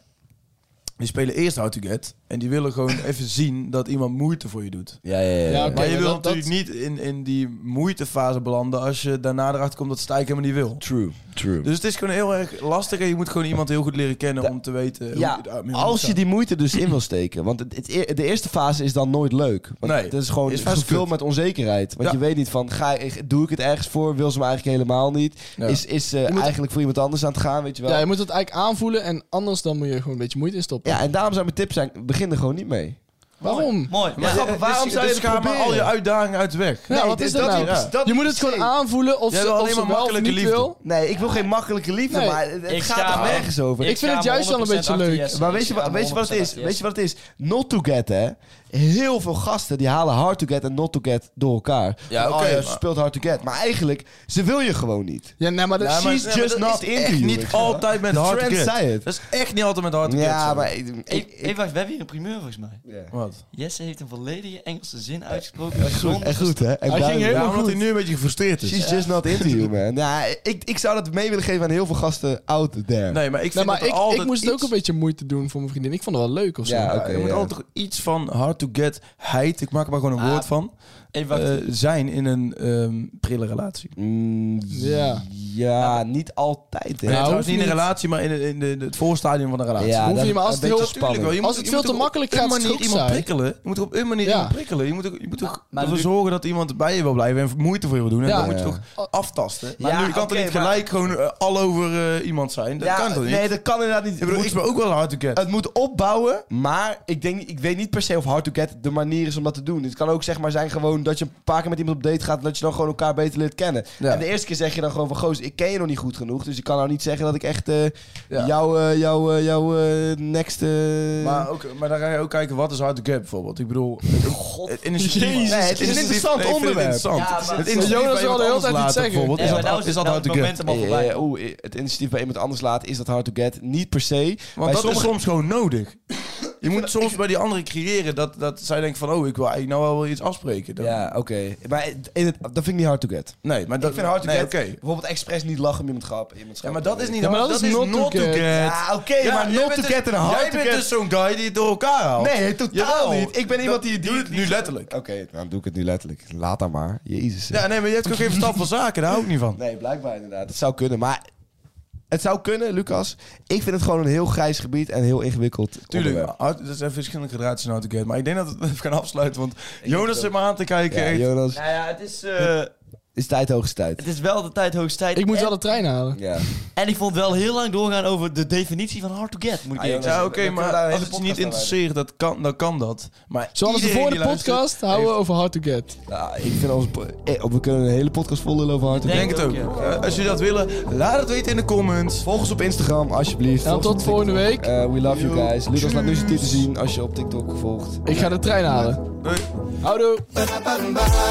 Speaker 3: Die spelen eerst How to Get. En die willen gewoon even zien dat iemand moeite voor je doet.
Speaker 2: Ja, ja, ja.
Speaker 1: Ja,
Speaker 2: ja.
Speaker 1: oké.
Speaker 3: maar je
Speaker 1: maar
Speaker 3: wil
Speaker 1: dat-
Speaker 3: natuurlijk niet in, in die moeitefase belanden als je daarna erachter komt dat Stijk helemaal niet wil.
Speaker 2: True, true.
Speaker 3: Dus het is gewoon heel erg lastig en je moet gewoon iemand heel goed leren kennen
Speaker 2: Da-
Speaker 3: om te weten
Speaker 2: Dus- Ja,
Speaker 3: hoe je daarmee
Speaker 2: als je
Speaker 3: omgaat.
Speaker 2: die moeite dus in wil steken. Want het, het e- de eerste fase is dan nooit leuk. Want
Speaker 3: Nee,
Speaker 2: het is gewoon
Speaker 3: is vast
Speaker 2: gevuld
Speaker 3: kut.
Speaker 2: met onzekerheid. Want
Speaker 3: Ja.
Speaker 2: je weet niet van, ga, ik- doe ik het ergens voor? Wil ze me eigenlijk helemaal niet?
Speaker 3: Ja.
Speaker 2: Is, is ze
Speaker 1: moet-
Speaker 2: eigenlijk voor iemand anders aan het gaan, weet je wel?
Speaker 1: Ja, je moet het eigenlijk aanvoelen en anders dan moet je gewoon een beetje moeite instoppen.
Speaker 2: Ja, en daarom zou mijn tip zijn, begin er gewoon niet mee.
Speaker 1: Waarom?
Speaker 4: Mooi.
Speaker 3: Maar
Speaker 4: Ja, dus
Speaker 3: grappig, waarom zou je
Speaker 2: het
Speaker 3: gaan dus- maar
Speaker 2: proberen?
Speaker 3: al je uitdagingen uit de weg?
Speaker 1: Ja, wat
Speaker 2: dit-
Speaker 1: is dat nou?
Speaker 3: Ja.
Speaker 2: dat
Speaker 1: je moet
Speaker 2: is
Speaker 1: het gewoon
Speaker 2: zin.
Speaker 1: aanvoelen of
Speaker 3: Jij
Speaker 1: ze,
Speaker 3: wil
Speaker 1: of
Speaker 3: alleen
Speaker 1: ze
Speaker 3: maar
Speaker 1: wel of
Speaker 3: makkelijke
Speaker 1: niet
Speaker 3: liefde.
Speaker 1: wil.
Speaker 2: Nee, ik wil geen makkelijke liefde,
Speaker 1: Nee.
Speaker 2: maar het, het
Speaker 4: Ik
Speaker 2: gaat
Speaker 4: schaam
Speaker 2: er
Speaker 4: me.
Speaker 2: ergens over.
Speaker 1: Ik vind het juist wel een beetje leuk.
Speaker 2: maar weet je, wa- weet je wat het is? Weet je wat het is? Not to get, hè? Heel veel gasten die halen hard to get en not to get door elkaar.
Speaker 3: Ja,
Speaker 2: Van,
Speaker 3: oké,
Speaker 2: oh, ze
Speaker 3: maar-
Speaker 2: speelt hard to get. Maar eigenlijk, ze wil je gewoon niet.
Speaker 1: Ja, nee, maar dat
Speaker 2: Ja, maar-
Speaker 1: She's-
Speaker 2: She's just
Speaker 3: dat
Speaker 2: not
Speaker 3: is
Speaker 2: into
Speaker 3: echt
Speaker 2: you, weet je
Speaker 3: niet
Speaker 2: wel.
Speaker 3: altijd met hard to
Speaker 2: Trent
Speaker 3: get.
Speaker 2: zei het.
Speaker 3: Dat is echt niet altijd met hard to get.
Speaker 2: ja,
Speaker 3: zo.
Speaker 2: maar... Ik, ik-
Speaker 4: Ik,
Speaker 2: ik-
Speaker 4: wacht, we hebben hier een primeur volgens mij.
Speaker 2: ja.
Speaker 3: Wat?
Speaker 4: Jesse heeft een volledige Engelse zin uitgesproken.
Speaker 2: Echt
Speaker 4: Zonder
Speaker 2: goed, hè? En
Speaker 1: ging
Speaker 2: duidelijk.
Speaker 1: helemaal
Speaker 3: Ja, omdat hij nu een beetje gefrustreerd is.
Speaker 2: She's just not into you, man. Ja, ik, ik zou dat mee willen geven aan heel veel gasten out there.
Speaker 3: Nee, maar ik
Speaker 1: Nee,
Speaker 3: vind
Speaker 1: maar
Speaker 3: dat er
Speaker 1: ik,
Speaker 3: altijd
Speaker 1: ik moest het ook
Speaker 3: iets-
Speaker 1: een beetje moeite doen voor mijn vriendin. Ik vond het wel leuk of zo.
Speaker 2: Ja,
Speaker 3: Ja,
Speaker 2: oké,
Speaker 3: je moet
Speaker 2: ja.
Speaker 3: altijd toch iets van hard to get heid, ik maak er maar gewoon een
Speaker 4: Ah,
Speaker 3: woord van,
Speaker 4: Even wacht.
Speaker 3: eh, zijn in een ehm prille relatie.
Speaker 2: Mm,
Speaker 1: Ja.
Speaker 2: ja, niet altijd, hè?
Speaker 3: Nee,
Speaker 1: Nou,
Speaker 3: trouwens
Speaker 1: hoeft
Speaker 3: niet in een
Speaker 1: niet.
Speaker 3: relatie, maar in, in, de- de- het voorstadium van een relatie.
Speaker 2: Ja,
Speaker 1: hoeft
Speaker 2: dat-
Speaker 1: niet, maar als
Speaker 2: een
Speaker 1: het heel-
Speaker 2: beetje
Speaker 3: Natuurlijk wel.
Speaker 2: spannend.
Speaker 3: Je
Speaker 1: Als het
Speaker 3: je
Speaker 1: veel
Speaker 3: er
Speaker 1: te
Speaker 3: op
Speaker 1: makkelijk
Speaker 3: een
Speaker 1: gaat,
Speaker 3: manier
Speaker 1: is het ook
Speaker 3: iemand
Speaker 1: saai.
Speaker 3: prikkelen. Je moet er op een manier
Speaker 1: Ja.
Speaker 3: iemand prikkelen. Je moet, ook- je moet ook
Speaker 4: maar
Speaker 3: ervoor
Speaker 4: nu-
Speaker 3: zorgen dat iemand bij je wil blijven en moeite voor je wil doen. En
Speaker 1: Ja. Oh.
Speaker 3: dan moet je
Speaker 2: Ja.
Speaker 3: toch aftasten.
Speaker 2: Maar
Speaker 3: Maar
Speaker 2: nu-
Speaker 3: je kan
Speaker 2: oké,
Speaker 3: toch niet
Speaker 2: maar-
Speaker 3: gelijk gewoon eh, al over eh, iemand zijn. Dat
Speaker 2: Ja,
Speaker 3: kan toch niet?
Speaker 2: Nee, dat kan inderdaad niet.
Speaker 3: ik bedoel,
Speaker 2: Moet-
Speaker 3: ik ben ook wel hard to get.
Speaker 2: Het moet opbouwen, maar ik, denk, niet- ik weet niet per se of hard to get de manier is om dat te doen. Het kan ook zeg maar zijn gewoon dat je een paar keer met iemand op date gaat en dat je dan gewoon elkaar beter leert kennen.
Speaker 3: Ja.
Speaker 2: En de eerste keer zeg je dan gewoon van, goos, ik ken je nog niet goed genoeg, dus ik kan nou niet zeggen dat ik echt eh
Speaker 3: Ja.
Speaker 2: jouw eh, jouw eh, jouw, eh, next... eh,
Speaker 3: Maar, ook, maar dan ga je ook kijken, wat is hard to get bijvoorbeeld? Ik bedoel... God. In een
Speaker 2: Nee, het is een interessant onderwerp.
Speaker 4: Ja, maar- Jonas
Speaker 3: Het
Speaker 2: eh,
Speaker 3: initiatief
Speaker 1: wilde de
Speaker 3: bij iemand
Speaker 1: hele
Speaker 3: anders
Speaker 1: tijd iets
Speaker 3: laten
Speaker 1: zeggen.
Speaker 3: bijvoorbeeld,
Speaker 4: Nee,
Speaker 3: is
Speaker 4: maar
Speaker 3: dat-
Speaker 4: nou is
Speaker 3: Is dat
Speaker 4: het-
Speaker 3: hard to
Speaker 4: nou is
Speaker 3: get?
Speaker 4: het moment helemaal
Speaker 2: eh,
Speaker 4: voorbij.
Speaker 2: oeh, eh, het initiatief bij iemand anders laten, is dat hard to get? Niet per se.
Speaker 3: Want
Speaker 2: Bij
Speaker 3: dat is
Speaker 2: sommige-
Speaker 3: soms gewoon nodig. Je moet soms bij die anderen creëren dat, dat zij denken van... oh, ik wil eigenlijk nou wel weer iets afspreken. Dan-
Speaker 2: Ja, oké. Maar het- in het- dat vind ik niet hard to get.
Speaker 3: Nee, maar dat...
Speaker 2: Ik vind hard to
Speaker 3: nee,
Speaker 2: get
Speaker 3: oké.
Speaker 2: bijvoorbeeld expres niet lachen om iemand grap. Iemand
Speaker 3: Ja, maar dat is niet...
Speaker 1: Ja, maar
Speaker 3: hard-
Speaker 1: dat is not to get.
Speaker 2: Ja, oké,
Speaker 3: Ja,
Speaker 2: maar
Speaker 3: jij
Speaker 2: not
Speaker 3: bent
Speaker 2: to
Speaker 3: dus-
Speaker 2: get en hard
Speaker 3: Jij
Speaker 2: to
Speaker 3: bent
Speaker 2: get.
Speaker 3: dus zo'n guy die het door elkaar haalt.
Speaker 2: Nee, totaal
Speaker 3: Jawel.
Speaker 2: niet. Ik ben iemand die... die
Speaker 3: Doe het nu letterlijk.
Speaker 2: Oké, dan doe ik het nu letterlijk. Laat dat maar. Jezus.
Speaker 3: Ja, nee, maar je hebt ook geen verstand van zaken. Daar hou ik niet van.
Speaker 2: Nee, blijkbaar inderdaad. Het zou kunnen, maar... Het zou kunnen, Lucas. Ik vind het gewoon een heel grijs gebied en heel ingewikkeld
Speaker 3: Tuurlijk,
Speaker 2: onderwerp.
Speaker 3: hard- er zijn verschillende gradaties in hard to get. Maar ik denk dat we het even gaan afsluiten. Want Jonas zit me aan te kijken.
Speaker 2: Ja,
Speaker 3: echt.
Speaker 2: Jonas,
Speaker 4: Nou ja, het is, eh,
Speaker 2: is tijd hoogste tijd.
Speaker 4: het is wel de tijd hoogste tijd.
Speaker 1: Ik moet
Speaker 4: en,
Speaker 1: wel de trein halen.
Speaker 2: Ja.
Speaker 4: en ik vond wel heel lang doorgaan over de definitie van hard to get, moet ik
Speaker 2: Ah,
Speaker 4: eerlijk
Speaker 2: jongens,
Speaker 4: zeggen.
Speaker 3: Ja,
Speaker 2: Dan
Speaker 3: oké,
Speaker 2: kunnen we daar een
Speaker 3: maar als
Speaker 2: hele
Speaker 3: het je
Speaker 2: podcast
Speaker 3: niet
Speaker 2: aan
Speaker 3: interesseert, dat kan, dan kan dat. Maar
Speaker 1: Zoals de
Speaker 3: iedereen
Speaker 1: voor de
Speaker 3: die luistert-
Speaker 1: podcast houden we
Speaker 3: heeft-
Speaker 1: over hard to get.
Speaker 2: Ah, ik vind ons... eh, We kunnen een hele podcast vol lullen over hard.
Speaker 4: Nee.
Speaker 3: Denk het ook.
Speaker 4: Denk
Speaker 3: Eh, als jullie dat willen, laat het weten in de comments.
Speaker 2: Volg ons op Instagram, alsjeblieft.
Speaker 3: Nou,
Speaker 1: En
Speaker 2: Volg ons
Speaker 1: tot
Speaker 2: op
Speaker 1: volgende
Speaker 2: TikTok.
Speaker 1: week.
Speaker 2: Eh, we love you guys. Lucas, laat nu zijn titel zien als je op TikTok volgt.
Speaker 1: Ik ga de trein halen.
Speaker 3: Doei.
Speaker 1: Houdoe.